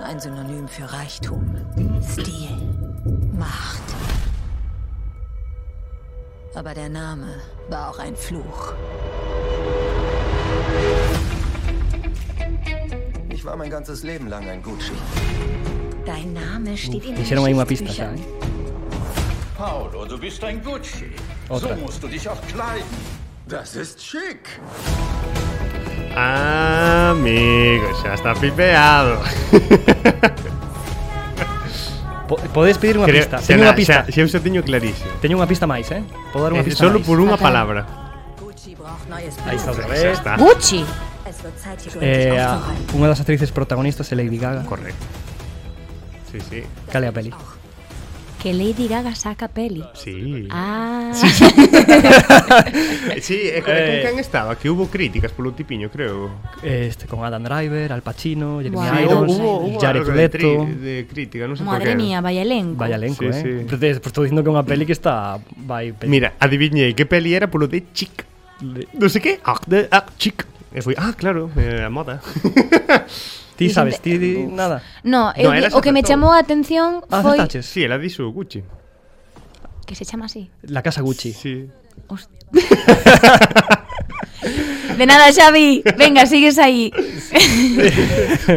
Ein Synonym für Reichtum, Stil, Macht. Aber der Name war auch ein Fluch. Ich war mein ganzes Leben lang ein Gucci. Dein Name steht in den Fixeron aí unha pista xa, Geschichtsbüchern. eh? Paolo, du bist ein Gucci. Otra. So musst du dich auch kleiden. Das ist schick. Amigo, xa está pipeado. Po podes pedir unha Creo- pista. xa Teño na- unha pista. xa- Xa eu xa teño clarísimo. Teño unha pista máis, eh? Podo dar unha Eh, pista Solo máis. por unha Ok. palabra. Gucci braucht neues Aí está Blut. Xa outra vez. Uh. está. Gucci. Es wird Zeit, hier gründlich Eh, a- aufzuräumen. unha das actrices protagonistas é Lady Gaga. Correcto. Sí, sí. Cale a peli. Que Lady Gaga saca peli. Sí. Ah, Sí, e con, e con Eh. quen estaba? Que hubo críticas polo tipiño, creo. Este, con Adam Driver, Al Pacino, Jeremy Guau. Sí, Irons, hubo- Jared algo de, Leto... tri- de crítica, non sei por madre que. mía, vaya elenco. Vaya elenco, Sí, eh? sí. Pero te, pues, estou dicindo que é unha peli que está... Vai, pe- Mira, adivinhei que peli era polo de chic. Le- Non sei que? Ah, de, ah, chic. E foi, ah, claro, eh, a moda. Ti sabes, ti di nada. No, eu, No, di- elas o que me acertou. chamou a atención Ah, foi acertaches. sí, ela dixo Gucci. que se chama así. La Casa Gucci. Sí. Os- De nada, Xavi. Venga, sigues aí.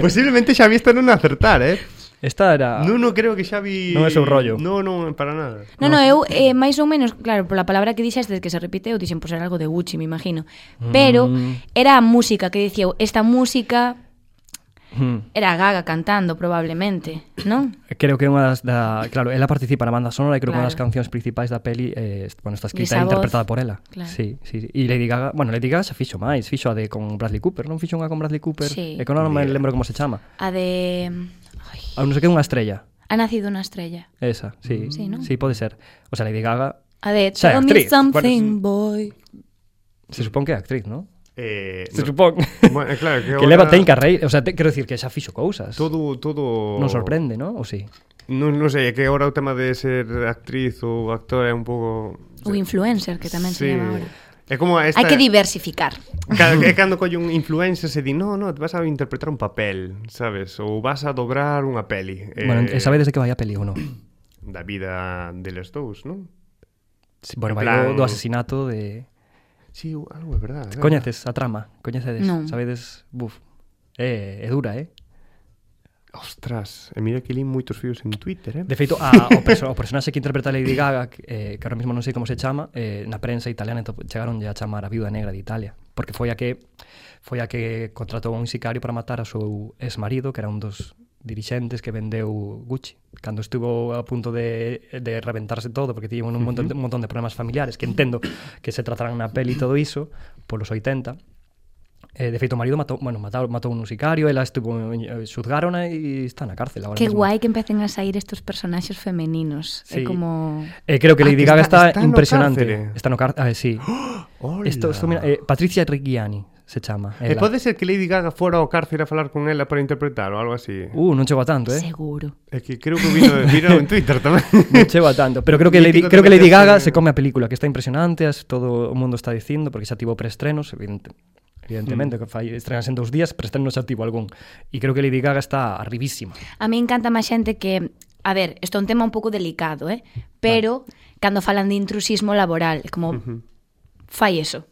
Posiblemente Xavi está non acertar, eh? Esta era... Non, non creo que Xavi... Non é seu rollo. Non, non, para nada. No, no, eu eh, máis ou menos, claro, pola palabra que dixeste que se repite, eu dixen por ser algo de Gucci, me imagino. Mm. Pero era a música que dicía, eu, esta música Hmm. era a Gaga cantando probablemente, non? Creo que é unha das da, claro, ela participa na banda sonora e creo que unha das Claro. cancións principais da peli eh, est- bueno, está escrita esa e voz. interpretada por ela. Claro. Sí, sí, sí. E Lady Gaga, bueno, Lady Gaga xa fixo máis, fixo a de con Bradley Cooper, non fixo unha con Bradley Cooper, Sí. e con non me lembro como se chama. A de Ai, A non sei que é unha estrella. Ha nacido unha estrella. Esa, sí. Sí, non? sí, pode ser. O sea, Lady Gaga A de Xa é Tell me actriz. something, boy. se supón que é actriz, ¿no? Eh, Se no. supón. Bueno, claro, que que, ahora- leva ten carreira, o sea, te, quero dicir que xa fixo cousas. Todo, todo... Non sorprende, ¿no? O sí. Non, non sei, é que agora o tema de ser actriz ou actor é un pouco... O influencer que tamén se llama agora. É como esta... Hai que diversificar. Ca- É cando colle un influencer se di No, no, vas a interpretar un papel, sabes? Ou vas a dobrar unha peli eh, Bueno, e sabedes de que vai a peli ou non? Da vida deles dous, non? Sí, En bueno, vai plan- do, do asesinato de... Si, sí, ou- algo é verdade eh. Coñeces a trama, coñecedes, Non. sabedes, buf. É, é dura, eh? Ostras, e mira que li moitos fios en Twitter, eh? De feito, a, o, perso o personaxe que interpreta Lady Gaga, que, eh, que ahora mismo non sei como se chama, eh, na prensa italiana to- chegaron a chamar a viuda negra de Italia, porque foi a que foi a que contratou a un sicario para matar a seu exmarido, que era un dos dirixentes que vendeu Gucci. Cando estuvo a punto de, de reventarse todo, porque tiña un, montón, de- un montón de problemas familiares, que entendo que se tratarán na peli e todo iso, polos 80, Eh, de feito, o marido matou, bueno, matou, matou un sicario, ela estuvo, eh, xuzgárona e está na cárcel agora Que mismo. guai que empecen a sair estes personaxes femeninos. É Sí. como... Eh, creo Ah, que Lady que Gaga está- está está, no impresionante. cárcere. está no cárcel. sí. Hola. Esto, esto, mira, eh, Patricia Reggiani se chama. E ela. pode ser que Lady Gaga fora ao cárcere a falar con ela para interpretar ou algo así. Uh, non chegou a tanto, eh? Seguro. É que creo que vino, vino en Twitter tamén. Non chegou a tanto, pero creo que Lady, Mítico creo que tamén Lady debe Gaga ser- se come a película, que está impresionante, as, todo o mundo está dicindo, porque xa tivo preestrenos, evidente, evidentemente, mm. que fai estrenas en dous días, preestrenos xa tivo algún. E creo que Lady Gaga está arribísima. A mí encanta máis xente que... A ver, isto é un tema un pouco delicado, eh? Pero, cando falan de intrusismo laboral, é como... Fai eso.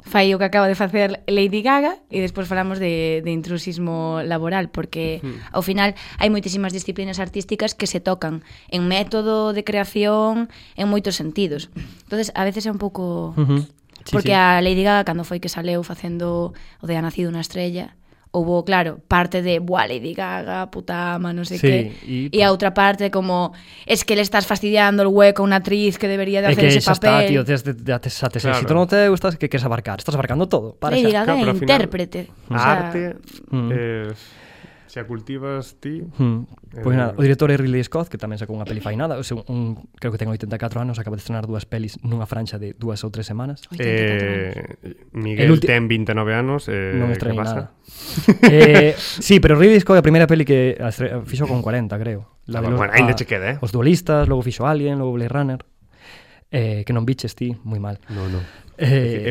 Fai o que acaba de facer Lady Gaga e despois falamos de, de intrusismo laboral, porque ao final hai moitísimas disciplinas artísticas que se tocan en método de creación, en moitos sentidos. entonces a veces é un pouco... Uh -huh. Porque a Lady Gaga cando foi que saleu facendo o de Ha nacido unha estrella, houbo, claro, parte de, buah, Lady Gaga, puta ama, non sei Sí, que. y- E a outra parte como, es que le estás fastidiando el hueco a unha actriz que debería de É hacer que ese xa está, papel. tío, tes, tes, tes, xa tes Claro. éxito no teu, estás, que queres abarcar, estás abarcando todo, para Lady xa. Claro, Gaga é pero ao final- intérprete. A arte... Mm. Eh, Se a cultivas ti... Hmm. Eh, Pois nada, o director é Ridley Scott, que tamén sacou unha peli fai nada, o seu, un, creo que ten 84 anos, acaba de estrenar dúas pelis nunha franxa de dúas ou tres semanas. 84 anos. Eh, Miguel El ulti- ten 29 anos eh, non que estrenei pasa? nada. eh, sí, pero Ridley Scott é a primeira peli que a estre- fixo con 40, creo. Ah, de bueno, ainda a- che queda, eh. Os duelistas, logo fixo Alien, logo Blade Runner. Eh, que non biches ti, moi mal. No, no. Eh,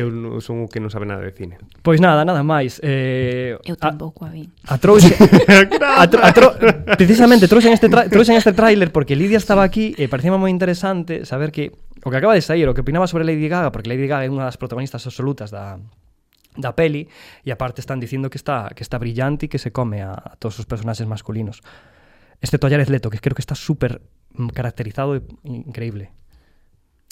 Eu non- son o que non sabe nada de cine. Pois nada, nada máis. Eh, Eu a- tampouco a vin. A trouxe a tro, a tro, precisamente trouxen este tra, trouxen este tráiler porque Lidia estaba aquí e parecía moi interesante saber que o que acaba de sair, o que opinaba sobre Lady Gaga, porque Lady Gaga é unha das protagonistas absolutas da da peli e aparte están dicindo que está que está brillante e que se come a, a todos os personaxes masculinos. Este Toyares Leto, que creo que está súper mm, caracterizado e increíble.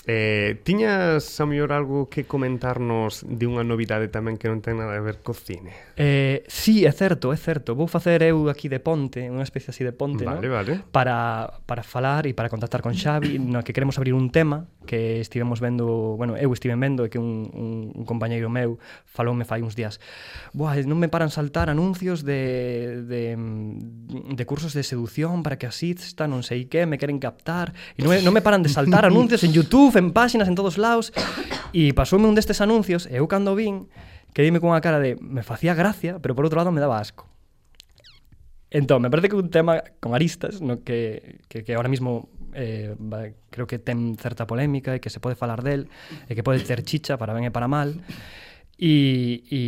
Eh, tiñas a mellor algo que comentarnos de unha novidade tamén que non ten nada a ver co cine. Eh, sí, é certo, é certo. Vou facer eu aquí de ponte, unha especie así de ponte, Vale, no? vale. Para, para falar e para contactar con Xavi, na que queremos abrir un tema que estivemos vendo, bueno, eu estiven vendo e que un, un, un compañeiro meu faloume fai uns días. Buah, non me paran saltar anuncios de, de, mm, de cursos de sedución para que asista, non sei que, me queren captar. E non, me- non me paran de saltar anuncios en YouTube, en páxinas, en todos lados. E pasoume un destes anuncios e eu cando vin, quedime cunha cara de me facía gracia, pero por outro lado me daba asco. Entón, me parece que é un tema con aristas no que, que, que ahora mismo eh, va, creo que ten certa polémica e que se pode falar del e que pode ter chicha para ben e para mal e, e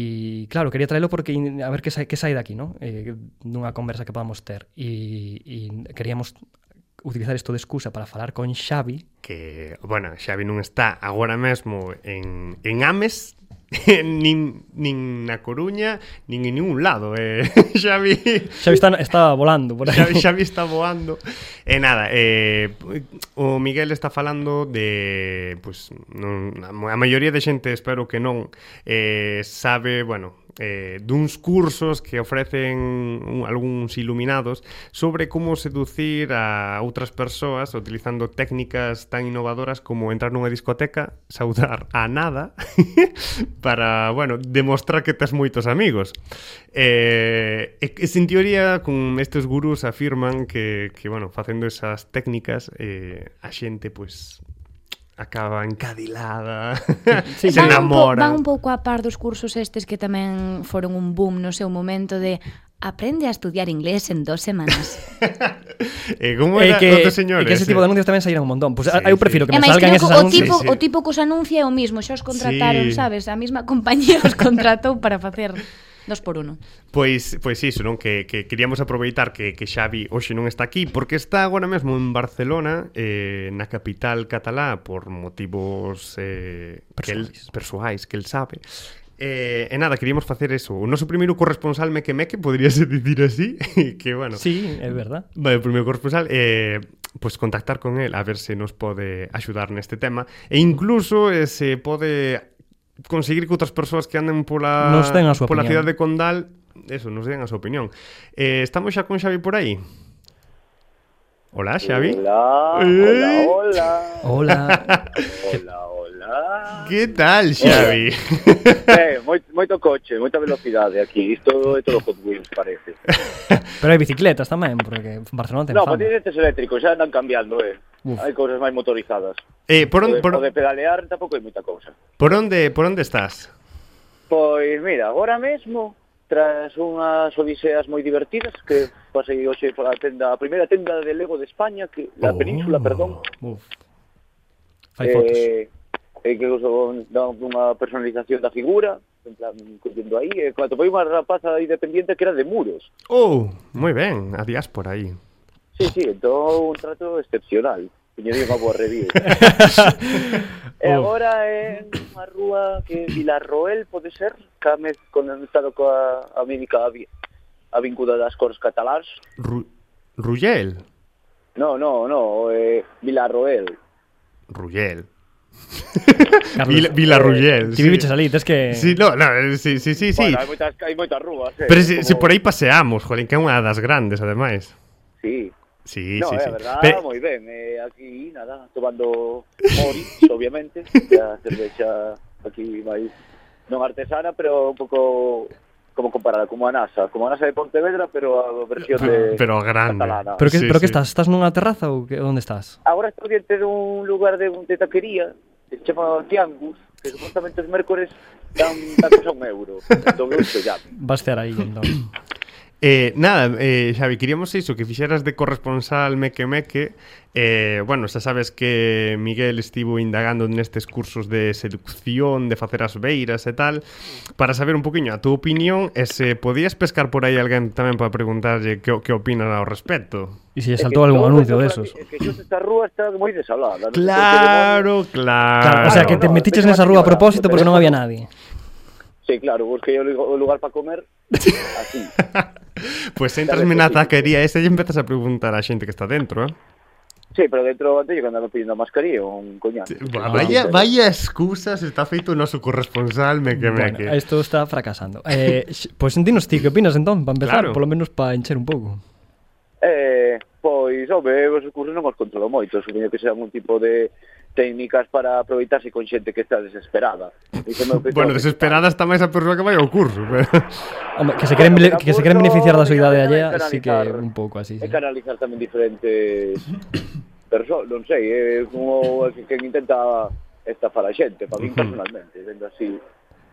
claro, quería traelo porque in- a ver que sai, que sai daqui no? eh, nunha conversa que podamos ter e, e queríamos utilizar isto de excusa para falar con Xavi Que, bueno, Xavi non está agora mesmo en, en Ames, nin, nin na Coruña, nin en ningún lado. Eh. Xavi Xavi está, está volando por aí. Xavi, Xavi está voando. E nada, eh, o Miguel está falando de, pues, non, a maioría de xente espero que non eh, sabe, bueno, eh, duns cursos que ofrecen un, algúns iluminados sobre como seducir a outras persoas utilizando técnicas tan innovadoras como entrar nunha discoteca, saudar a nada para, bueno, demostrar que tes moitos amigos. Eh, e, e en teoría, con estes gurús afirman que, que bueno, facendo esas técnicas, eh, a xente, pues, acaba encadilada, sí, se Van un po- enamora. Van un pouco a par dos cursos estes que tamén foron un boom no seu momento de aprende a estudiar inglés en dos semanas. Eh, como E era que, que, dos e señores? eh? que ese tipo de anuncios tamén saíran un montón. Pues, Sí, sí, eu sí. prefiro que e me máis salgan creo que eses o anuncios. tipo, Sí, sí. o tipo que os anuncia é o mismo, xa os contrataron, Sí. sabes? A mesma compañía os contratou para facer dos por uno. Pois, pois iso, non? Que, que queríamos aproveitar que, que Xavi hoxe non está aquí porque está agora mesmo en Barcelona eh, na capital catalá por motivos eh, que el, persoais que el sabe eh, e nada, queríamos facer eso o noso primeiro corresponsal Meque Meque poderíase dicir así que bueno Sí, é verdad. Vale, o primeiro corresponsal eh, pues contactar con el a ver se nos pode axudar neste tema e incluso eh, se pode conseguir que outras persoas que anden pola Nos den a súa pola opinión. cidade de Condal eso, nos den a súa opinión. Eh, estamos xa con Xavi por aí. Hola, Xavi. Hola, Eh. hola, Hola. hola, hola, Que tal, Xavi? Eh, moi- moito coche, moita velocidade aquí, isto é todo Hot Wheels parece. Pero hai bicicletas tamén, porque Barcelona ten No, fama. a partir destes eléctricos xa andan cambiando, eh. Uf. Hai cousas máis motorizadas. Eh, por, O on, de, por, o de pedalear tampouco hai moita cousa. por onde por onde estás? Pois mira, agora mesmo tras unhas odiseas moi divertidas que pasei hoxe pola tenda, a primeira tenda de Lego de España, que la Oh. península, perdón, Uf. Fai fotos. Eh, eh, que uso dan unha personalización da figura, en plan, eh, collendo aí, e cando foi unha rapaza aí dependiente que era de muros. Oh, moi ben, a días por aí. Sí, sí, entón un trato excepcional. Tiñería unha boa review. Oh. Eh, e Oh. agora é unha rúa que Vilarroel pode ser, came conectado coa a mímica a, vi- a vincuda das cores catalás. Ru Rugel, No, no, no, eh, Vilarroel. Rugel. Carlos, Vila, eh, Vila Rugel. ti viviches ali, tes que... Sí, no, no, sí, sí, sí, sí. Bueno, hai moitas, hai moitas rúas. Eh, Pero se, como- se por aí paseamos, jolín, que é unha das grandes, ademais. Sí, Sí, no, sí, é sí. verdad, Pe- moi ben. Eh, aquí, nada, tomando mori, obviamente. A cervexa aquí máis non artesana, pero un pouco como comparada, como a NASA, como a NASA de Pontevedra, pero a versión de Ah, Pero a grande. catalana. Pero que, Sí, pero que sí. estás? Estás nunha terraza ou que, onde estás? Agora estou diante dun lugar de, de taquería que se chama Tiangus, que supostamente os mércores dan tacos a un euro. Entón eu xo llame. Vas cear aí, entón. Eh, nada, eh, Xavi, queríamos iso, que fixeras de corresponsal Meque Meque eh, Bueno, xa sabes que Miguel estivo indagando nestes cursos de seducción, de facer as beiras e tal Para saber un poquinho a túa opinión E se podías pescar por aí alguén tamén para preguntarlle que, o- que opinan ao respecto E se lle saltou algún anuncio desos. Que xo esta rúa está moi desalada. non sei Claro, Claro, Ah, claro o sea, que no, te no, metiches déjame nesa rúa a llorar, propósito porque non pero- había nadie. por qué demonios. Sí, claro, busquei o lu- o lugar para comer así. Pues entras Claro, na sí. taquería esa e empezas a preguntar á xente que está dentro, eh? Sí, pero dentro antes que andaba pidiendo a mascarilla un coñac. Vaya, vaya excusas está feito o noso corresponsal Meque Bueno, Meque isto está fracasando. Eh, x- pois pues, dinos ti, que opinas entón? Para empezar, Claro. claro. polo menos para encher un pouco. Eh, pois, home, os cursos non os controlo moito, supoño que serán un tipo de técnicas para aproveitarse con xente que está desesperada. Dice, meu, que Bueno, todo- desesperada está máis a persoa que vai ao curso pero... Home, que se queren, Bueno, que se queren tampouco beneficiar da me súa idade cabe allea, así que canalizar. un pouco así. É Sí. canalizar tamén diferentes persoas, non sei, é como que, que intenta estafar a xente, para min personalmente, sendo así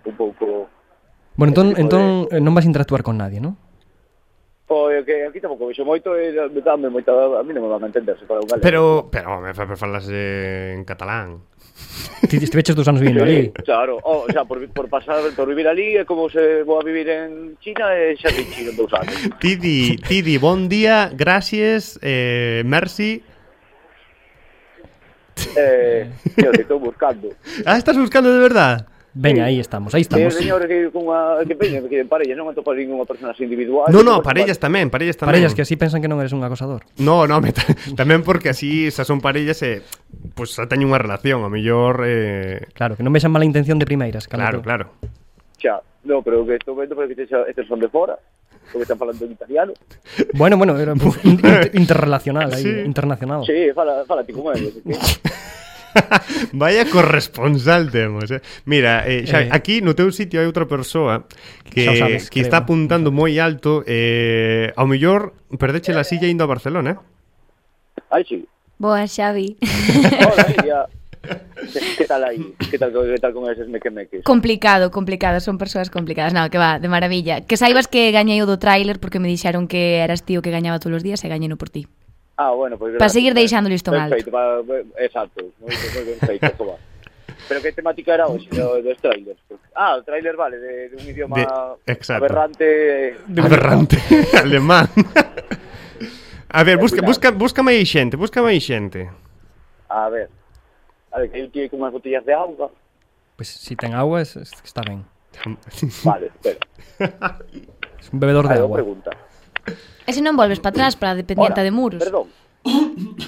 un pouco... Bueno, entón, Ese tipo entón eh, non vas a interactuar con nadie, non? Pois, que aquí tampouco vexo moito e me dame moita... A mí non me van a entender, se para un galego. Pero, pero, home, fa- falas eh, en catalán. Ti estiveches dous anos vivindo Sí, ali. Eh, Claro, o, o sea, por, vi- por pasar, por vivir ali é como se vou a vivir en China e xa en China en dous anos. Tidi, Tidi, bon día, gracias, eh, merci. Eh, tío, que estou buscando. Eh, Ah, estás buscando de verdad? Veña, aí estamos, aí Tem estamos. señores que cunha que peñen que en parellas non atopas ninguna persona así individual. No, no, parellas tamén, parellas tamén. Parellas que así pensan que non eres un acosador. No, no, me, ta- tamén porque así xa son parellas e pues xa teñen unha relación, a mellor eh, Claro, que non vexan mala intención de primeiras. claro, claro. Xa, no, pero que estou vendo porque estes, estes son de fora, porque están falando en italiano. Bueno, bueno, era pues, in- inter- interrelacional, aí, Sí. internacional. Sí, fala, fala ti como eles. que- Vaya corresponsal temos, eh. Mira, eh, xa, eh, Eh. aquí no teu sitio hai outra persoa que, Xa o sabes, que creo. está apuntando moi alto eh, ao mellor perdeche la silla indo a Barcelona, eh. Ai, sí. Boa, Xavi. Hola, Iria. Que tal aí? Que tal, que tal con eses mequemeques? Complicado, complicado, son persoas complicadas. No, que va, de maravilla. Que saibas que gañei o do tráiler porque me dixeron que eras tío que gañaba todos os días e gañeno por ti. Ah, bueno, pois... Pues, Pa seguir deixando o listón alto. Perfecto, pa, eh, exacto. Moi, moi ben feito, como va. Pero que temática era hoxe do, dos trailers? Ah, o trailer, vale, de, de un idioma De- exacto. aberrante... Aberrante, alemán. A ver, busca, busca, búscame aí xente, búscame aí xente. A ver... A ver, que eu tive con unhas botellas de auga. Pois pues, si ten agua, es, es, está ben. Vale, espera. Es un bebedor de Algo agua. pregunta. E se non volves para atrás para a dependiente Ora, de muros. Perdón,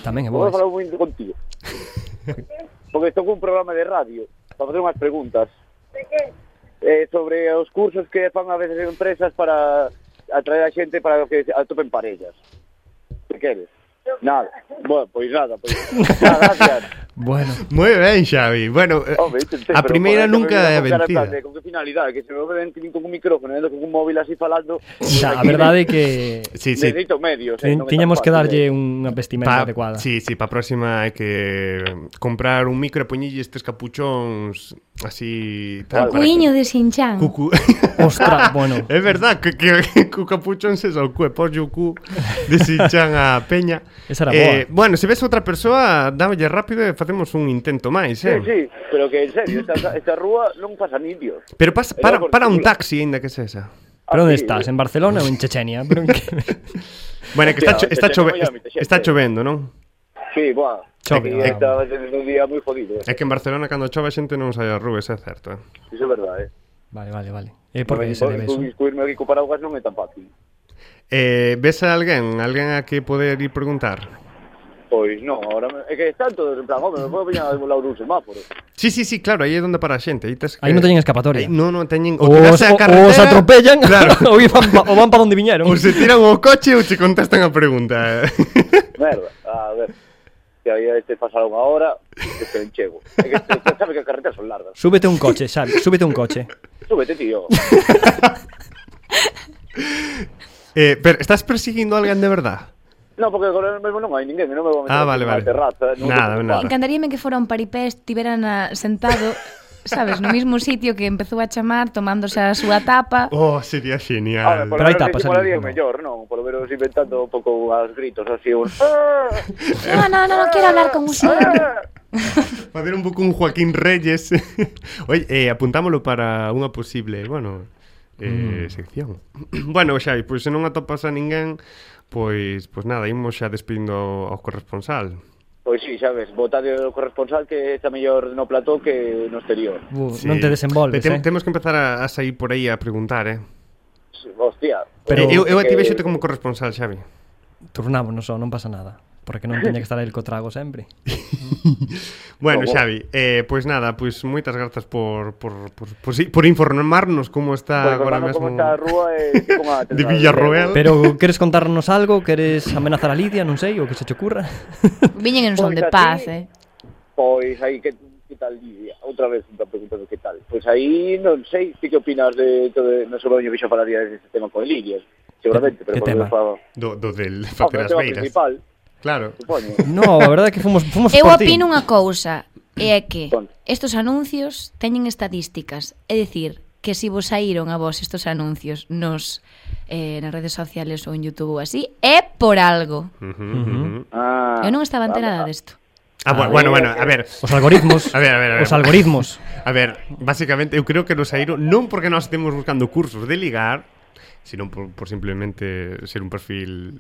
Tamén é vou boa. falar moito contigo. Porque estou cun programa de radio para facer unhas preguntas. Eh, sobre os cursos que fan a veces empresas para atraer a xente para que se atopen parellas. Que queres? Nada. Bueno, pois nada. Pois, nada, gracias. Bueno, Moi ben, Xavi. Bueno, eh, Home, intenté, a pero, primeira joder, que nunca me é vieron con cara en plan vencida. de, Con que finalidade? Que se me ven que vin con un micrófono, e ando con un móvil así falando. xa, a verdade é que Sí, sí. Necesito medios. eh, non é tan tiñamos que fácil, eh. darlle unha Pa, vestimenta adecuada. sí, sí, pa próxima hai que comprar un micro e poñille estes capuchóns así tal para Cuiño de Xinchán. que... Cucu. Ostra, bueno. Ah, É verdad que, que, que cu capuchón se só cue Pollo cu de Sinchan a Peña Eh, Esa era Bueno, se ves outra persoa Dámelle rápido e facemos un intento máis Sí, eh? sí, pero que en serio, esta, esta rúa non pasan indios. Pero pas, para, Era por para un culo. taxi Ainda que sexa Pero onde sí. estás? En Barcelona ou en Chechenia? Pero en que... Bueno, é que está, cho Hostia, está, te chove chamo Miami, te está xente. chovendo, non? Sí, boa. Eh, Chove, Aquí ah. Estaba tendo un día moi jodido. eh. É que en Barcelona cando chove a xente non sai ás rúas, é certo. Eh? Iso é verdade. Eh. Vale, vale, vale. É porque Non, se debe eso. non, Incluirme aquí co paraguas non é tan fácil. Eh, ves a alguén, alguén a que poder ir preguntar? Pois non, Pues ahora me... é que están todos en plan, home, me podo peñar a volar un semáforo. Sí, sí, sí, claro, aí é onde para a xente. Aí, tes que... Aí non teñen Aí, escapatoria. non, non teñen... Ou os, tirarse á o, os carretera, atropellan Claro. ou, van pa, ou van pa onde viñeron. Ou se tiran o coche ou te contestan a pregunta. Merda, a ver. Que aí este pasar unha hora, que se enchego. É que este, sabe que as carreteras son largas. Súbete un coche, Xavi, súbete un coche. Súbete, tío. Eh, pero, ¿estás persiguiendo a alguén de verdad? No, porque agora mesmo non hai ninguén, e non me vou meter Ah, aquí vale, na vale. terraza. non Nada, vou- nada. Encandaríame que fora un paripé estiveran a- sentado, sabes, no mismo sitio que empezou a chamar, tomándose a súa tapa. Oh, sería Ah, genial. polo Pero hai menos tapas, disimularía ali, non? mellor, non? Polo menos inventando un pouco as gritos así, un... No, no, no, no quiero hablar con usted. Facer un pouco un Joaquín Reyes. Oye, eh, apuntámolo para unha posible, bueno, Mm. eh, sección. bueno, Xai, pois se non atopas a ninguén, pois pois nada, imos xa despedindo ao- ao corresponsal. Pois sí, sabes, botade o corresponsal que está mellor no plató que no exterior. Bu, Sí. Non te desenvolves, Tem- eh? Temos que empezar a, a sair por aí a preguntar, eh. Hostia. Pero- Eh, eu, eu a ti que- vexote como corresponsal, Xavi. Turnámonos só, non pasa nada. Porque non teña que estar el co trago sempre. Bueno, Como? Xavi, eh, pois nada, pois moitas grazas por por, por, por, si- por informarnos como está Pois, agora hermano, mesmo como está a rúa eh, e como a de Villarroel. Pero queres contarnos algo? Queres amenazar a Lidia? Non sei, o que se te ocurra? Viñen en son de Pois paz, así- eh. Pois aí que que tal Lidia? Outra vez me preguntando que tal. Pois aí non sei, ti que opinas de todo, non sobre o que xa falaría deste tema con Lidia, seguramente, pero Que por lo tema? menos fa- do, do del Home, facer o as tema beiras. principal, Claro. supoño. No, a verdade é que fomos, fomos Eu por ti. opino unha cousa, é que Conta. estos anuncios teñen estadísticas, é dicir, que si vos saíron a vos estos anuncios nos eh, nas redes sociales ou en YouTube ou así, é por algo. Ujú, ujú. Ujú. Ah, Eu non estaba vale, enterada ah, desto. Ah, bueno, bueno, bueno, a ver, Os algoritmos. A ver, a ver, a ver. Os algoritmos. a ver, basicamente eu creo que nos saíron non porque nós estemos buscando cursos de ligar, sino por, por simplemente ser un perfil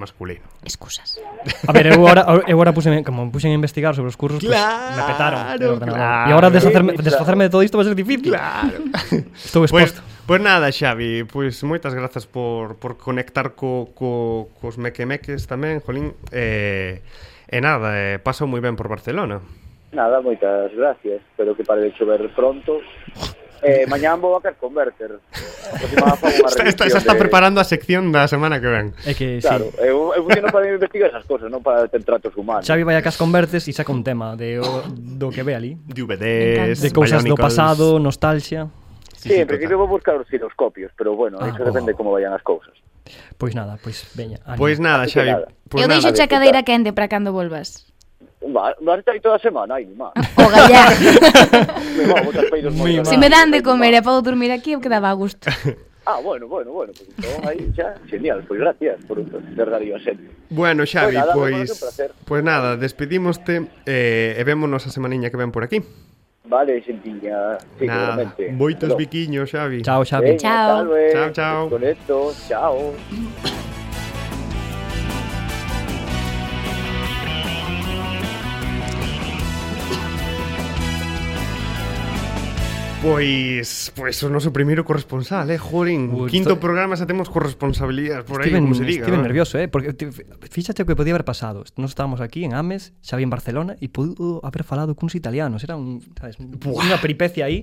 masculino. Excusas. A ver, eu ahora, eu ahora puseme, como puxen a investigar sobre os cursos, pues, me petaron. Claro, el ordenador. claro. E agora deshacerme, Claro. desfacerme de todo isto vai ser difícil. Claro. Estou Pois, exposto. pois nada, Xavi, pois moitas grazas por, por conectar co, co, cos mequemeques tamén, Jolín. Eh, e nada, eh, pasou moi ben por Barcelona. Nada, moitas gracias. Espero que pare de chover pronto. Eh, mañán vou a Carconverter. Está, está, xa está preparando a sección da semana que ven. É que, Claro, sí. eh, eu, eu funciono para investigar esas cosas, non para ter tratos humanos. Xavi vai a cas convertes e saca un tema de, o, do que ve ali. DVDs, De cousas do Bionicles. pasado, nostalgia. Sí, en principio vou buscar os giroscopios, pero bueno, Ah, iso oh. depende como vayan as cousas. Pois nada, pois veña. ánimo. Pois nada, Así que Xavi. nada. Pois Eu nada. deixo nada, a disfruta. cadeira quente para cando volvas. Va, vas estar aí toda a semana, ai, má. O gallar. Me vou botar peidos moi Mima. mal. Se me dan de comer eh. e podo dormir aquí, eu quedaba a gusto. Ah, bueno, bueno, bueno, pues entón aí xa, genial, pois gracias por ter dado a xente. Bueno, Xavi, Pois nada, pois foi un placer. pois nada, despedimoste eh, e vémonos a semaniña que ven por aquí. Vale, xentiña, nada, seguramente. moitos Pero- biquiños, Xavi. Chao, Xavi. Venga, Chao. tal vez. Chao, chao. Con esto, chao. Pois, pois o noso primeiro pues corresponsal, eh, Jorín. Ui, Quinto esto- programa xa temos corresponsabilidades por aí, Estive, como se diga. estive ¿no? nervioso, eh, porque te- fíxate o que podía haber pasado. Nós estábamos aquí en Ames, Xavi en Barcelona e pudo haber falado cuns italianos, era un, sabes, un- unha peripecia aí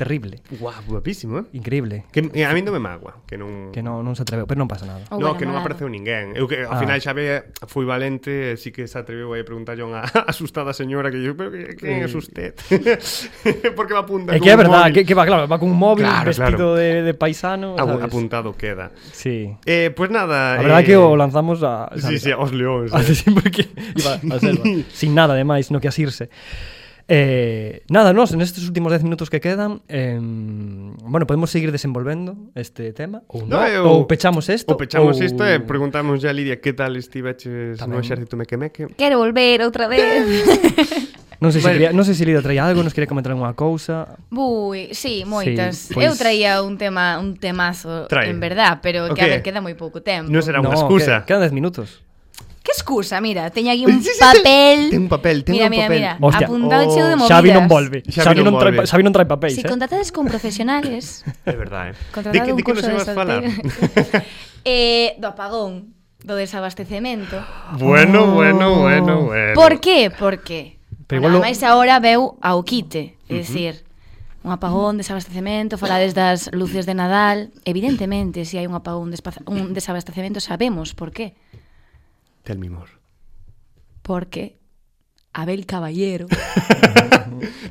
terrible, Guau, guapísimo, eh? increíble, Que eh, a mí non me magua, que non que non non se atreveu, pero non pasa nada. Ou No, era que non malado. apareceu ninguén. Eu que ao Ah. final Xavi foi valente, e sí que se atreveu aí a preguntarlle a unha asustada señora que yo, pero que, quen é usted? Porque va apunta É con que é un verdade, móvil. que, que va, claro, va cun móvil Claro, claro, claro. vestido claro. de, de paisano, Apu- sabes? apuntado queda. Sí. Eh, pues nada. A verdade eh, é que Ah, o lanzamos a... Sí, sí, aos leóns. eh. Así porque iba a selva, sin nada ademais, no que asirse. Eh, nada, nos nestes últimos 10 minutos que quedan, eh, bueno, podemos seguir desenvolvendo este tema ou No, no, eu- ou pechamos isto. O pechamos isto e preguntamos a Lidia que tal estiveches no Tamén. exército mequemeque. Quero volver outra vez. Non sei se Bueno. quería, non sei se Lidia traía algo, nos quería comentar algunha cousa. Bui, sí, moitas. Sí, pois- Eu traía un tema, un temazo, Trae. en verdad, O pero qué? que a ver, queda moi pouco tempo. Non será unha No, excusa. Que, quedan 10 minutos. Que excusa, mira, teño aquí un Sí, sí, sí, papel. ten un papel, ten mira, un mira, papel. Mira, Hostia. Oh, apuntado cheo de movidas. Xavi non volve. Xavi Xavi, non non, trae, volve. pa- Xavi non trae papéis, Se eh. contratades con profesionales, É verdade, eh. Di, contratado que- un di que nos curso de ibas a falar. solteiro. eh, do apagón, do desabastecemento. bueno, bueno, bueno, bueno. Oh. Por qué? Porque Eh, Pero Pero igual lo- máis agora veu ao quite, é dicir, un apagón, desabastecemento, falades das luces de Nadal, evidentemente, se hai un apagón, despaza- un desabastecemento, sabemos por qué. Tel mimor. Porque Abel Caballero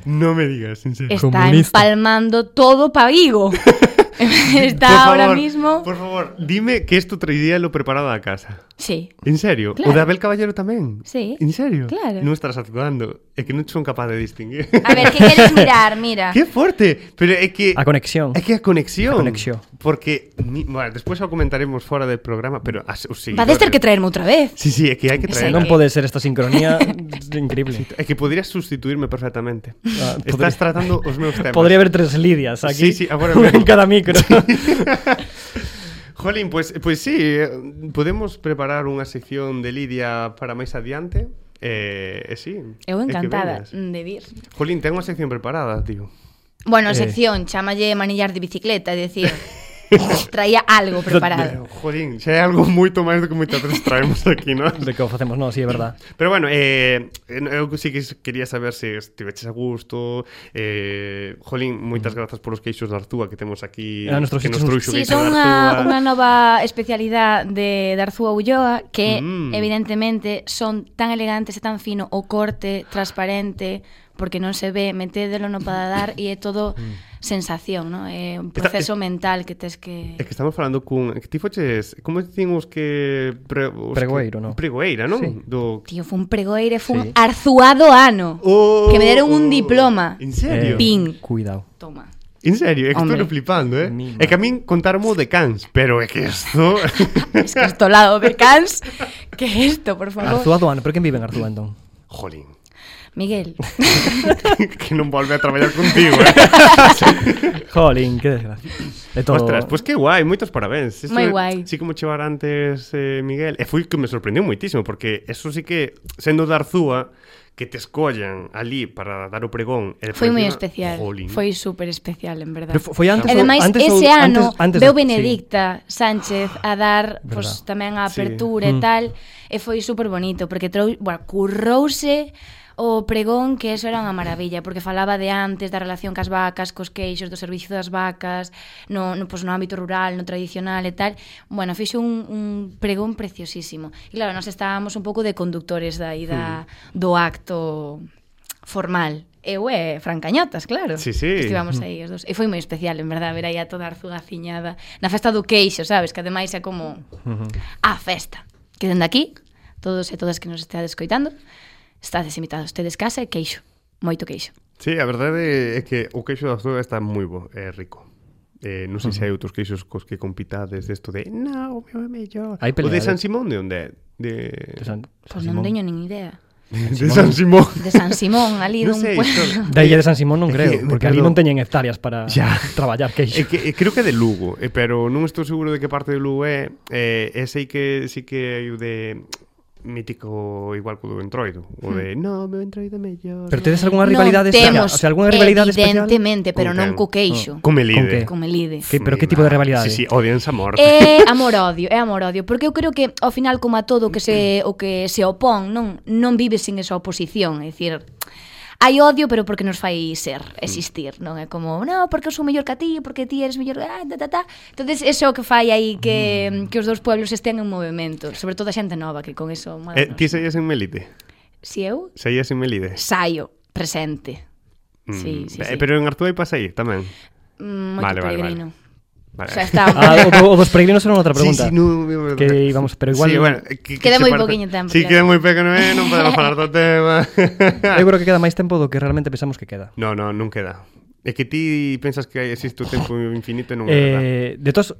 No me digas, en serio. está Comunista. empalmando todo Pavigo. Está Por ahora favor, mismo. Por favor, dime que esto traería lo preparado a casa. Sí. En serio? Claro. O de Abel Caballero tamén? Sí. En serio? Claro. Non estás actuando. É que non son capaz de distinguir. A ver, ¿qué quieres mirar? Mira. Que forte, pero é que A conexión. É que a conexión. A conexión. Porque mi, bueno, despois o comentaremos fora del programa, pero as, os Vades ter que traerme outra vez. Sí, sí, é que hai que Ese traer. Non pode ser esta sincronía increíble. É que podrías sustituirme perfectamente. Ah, Estás podría- tratando os meus temas. Podría haber tres lidias aquí. Sí, sí, agora Una en mesmo. cada micro. Jolín, pois pues, pues sí, eh, podemos preparar unha sección de Lidia para máis adiante. Eh, eh sí. Eu é que encantada veñas. de vir. Jolín, ten unha sección preparada, tío. Bueno, Eh. sección, chámalle manillar de bicicleta, é dicir, traía algo preparado. Jolín, xa é algo moito máis do que moitas veces traemos aquí, non? De que o facemos, no, sí, é verdad. Pero bueno, eh, eu sí que quería saber se estiveches a gusto eh, Jolín, moitas grazas polos queixos de Artúa que temos aquí Eran Ah, nuestros que queixos- nos trouxo Si, sí, queixo de son Artúa. unha, unha nova especialidade de Darzúa Ulloa que Mm. mm. evidentemente son tan elegantes e tan fino o corte transparente porque non se ve, metédelo no paladar e é todo sensación, ¿no? É un Está- proceso mental que tes que É que estamos falando cun... Que ti foches... Como dicen os que... Pre, os Pregoeiro, que, non? Pregoeira, non? Sí. Do... Tío, foi un pregoire, foi un Sí. arzuado ano. Oh, que me deron un diploma. En serio? Eh, Pin. Cuidado. Toma. En serio? É que estou Hombre. flipando, eh? Mi É que a min contarmo de cans, pero é que isto... Es que esto lado de cans. que esto, por favor? Arzúa Doano, pero quen vive en Arzúa, entón? Jolín. Miguel. que non volve a traballar contigo, eh? Jolín, que desgracia. De todo. Ostras, pois pues que guai, moitos parabéns. Isto Moi é- guai. Sí como chevar antes eh, Miguel, e foi que me sorprendeu moitísimo porque eso sí que sendo da Arzúa que te escollan ali para dar o pregón. e Foi por moi encima, especial. Jolín. Foi super especial, en verdad. Pero fo- foi antes E ou- ademais, antes ou- ese ano antes- antes veu da- sí. Benedicta Sánchez a dar Verdad. Mm. pues, tamén a Sí. apertura e tal e foi super bonito porque trou, bueno, currouse o pregón que eso era unha maravilla porque falaba de antes da relación cas vacas, cos queixos, do servicio das vacas no, no, pues, no ámbito rural, no tradicional e tal bueno, fixo un, un pregón preciosísimo e claro, nós estábamos un pouco de conductores da, Hmm. da, do acto formal Eu e Francañatas, claro Sí, sí. que Estivamos aí os dous. E foi moi especial, en verdad, ver aí a toda Arzúa ciñada na festa do queixo, sabes? Que ademais é como a festa. Que dende aquí, todos e todas que nos esteades coitando, estades invitados, tedes casa e queixo. Moito queixo. Sí, a verdade é que o queixo da Arzúa está moi bo, é rico. Eh, non sei se hai outros queixos cos que compitades desto de "Na, o meu é mellor". Hai O de peleades. San Simón de onde é? De De San- Pois San non Simón. teño nin idea. de San Simón. De San Simón, ali Non dun sei, pueblo. son- Da illa de San Simón non É que creo, me porque ali perdo- non teñen hectáreas para Ya. É traballar queixo. que, eh, creo que é de Lugo, eh, pero non estou seguro de que parte de Lugo é, eh, e sei que sí que hai o de mítico igual que o do Entroido, o de no, meu Entroido é mellor. Hmm. Pero tedes algunha rivalidade non extraña? temos, O sea, algunha rivalidade especial? evidentemente, pero Con non quen? co queixo. Come Con que? líder. Como lide. Que- pero que tipo de rivalidade? Sí, sí, odianse a morte. É amor-odio, é amor-odio, porque eu creo que ao final como a todo o que se o que se opón, non non vive sin esa oposición, é dicir, hai odio pero porque nos fai ser, Mm. existir, non é como, non, porque eu sou mellor que a ti, porque ti eres mellor, ah, ta ta ta. Entonces eso que fai aí Mm. que que os dous pueblos estean en movemento, sobre todo a xente nova que con eso, mano, Eh, ti saías en Melide? si eu Saías en Melide? saio presente. Sí, sí, Eh, sí. Pero en Artúa hai pasai tamén. Vale, Mm, Moito vale, peregrino. Vale. O sea, está Ah, o, do- o dos peregrinos era outra pregunta. Sí, sí, no, é verdade. Que íbamos- pero igual- Sí, bueno, eh, que, Queda se moi parte- poquinho tempo, Sí, claro. queda moi pequeno, eh, non podemos falar do tema. Eu creo que queda máis tempo do que realmente pensamos que queda. No, no, non queda. É que ti pensas que existe o tempo infinito e non é verdade. Eh, de todas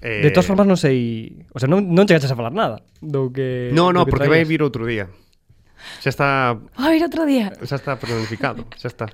Eh, De todas formas non sei, o sea, non non chegaches a falar nada do que Eh, No, do no, que porque vai traías. vir outro día. Xa está, A ver outro día. xa está planificado, xa está.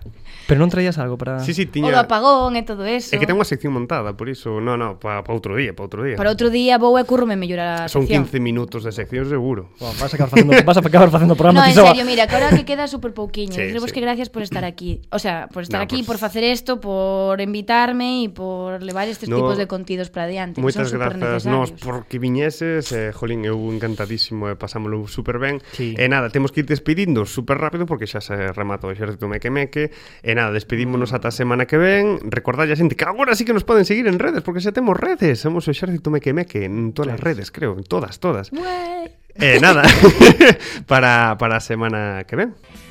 Pero non traías algo para Sí, sí, O do tiña apagón e todo eso. É que ten unha sección montada, por iso, no, no, pa, pa outro día, pa outro día. Para outro día vou e curro me mellorar a Son sección. 15 minutos de sección seguro. Buah, vas a acabar facendo vas a acabar facendo programa No, en ti soa. serio, mira, que ahora que queda súper pouquiño. Sí, Sí, sí. que gracias por estar aquí. O sea, por estar No, aquí, pues- por facer esto, por invitarme e por levar estes No, tipos de contidos para adiante. que Moitas son super grazas necesarios. nos porque viñeses, eh, jolín, eu encantadísimo e pasámolo super ben. Sí. E nada, temos que ir despedindo super rápido porque xa se remata o exército meque meque. E nada, despedímonos ata a semana que ven. Recordalle a xente que agora sí que nos poden seguir en redes porque xa temos redes, somos o exército meque meque en todas as redes, creo, en todas, todas. Ué. E nada, para, para a semana que ven.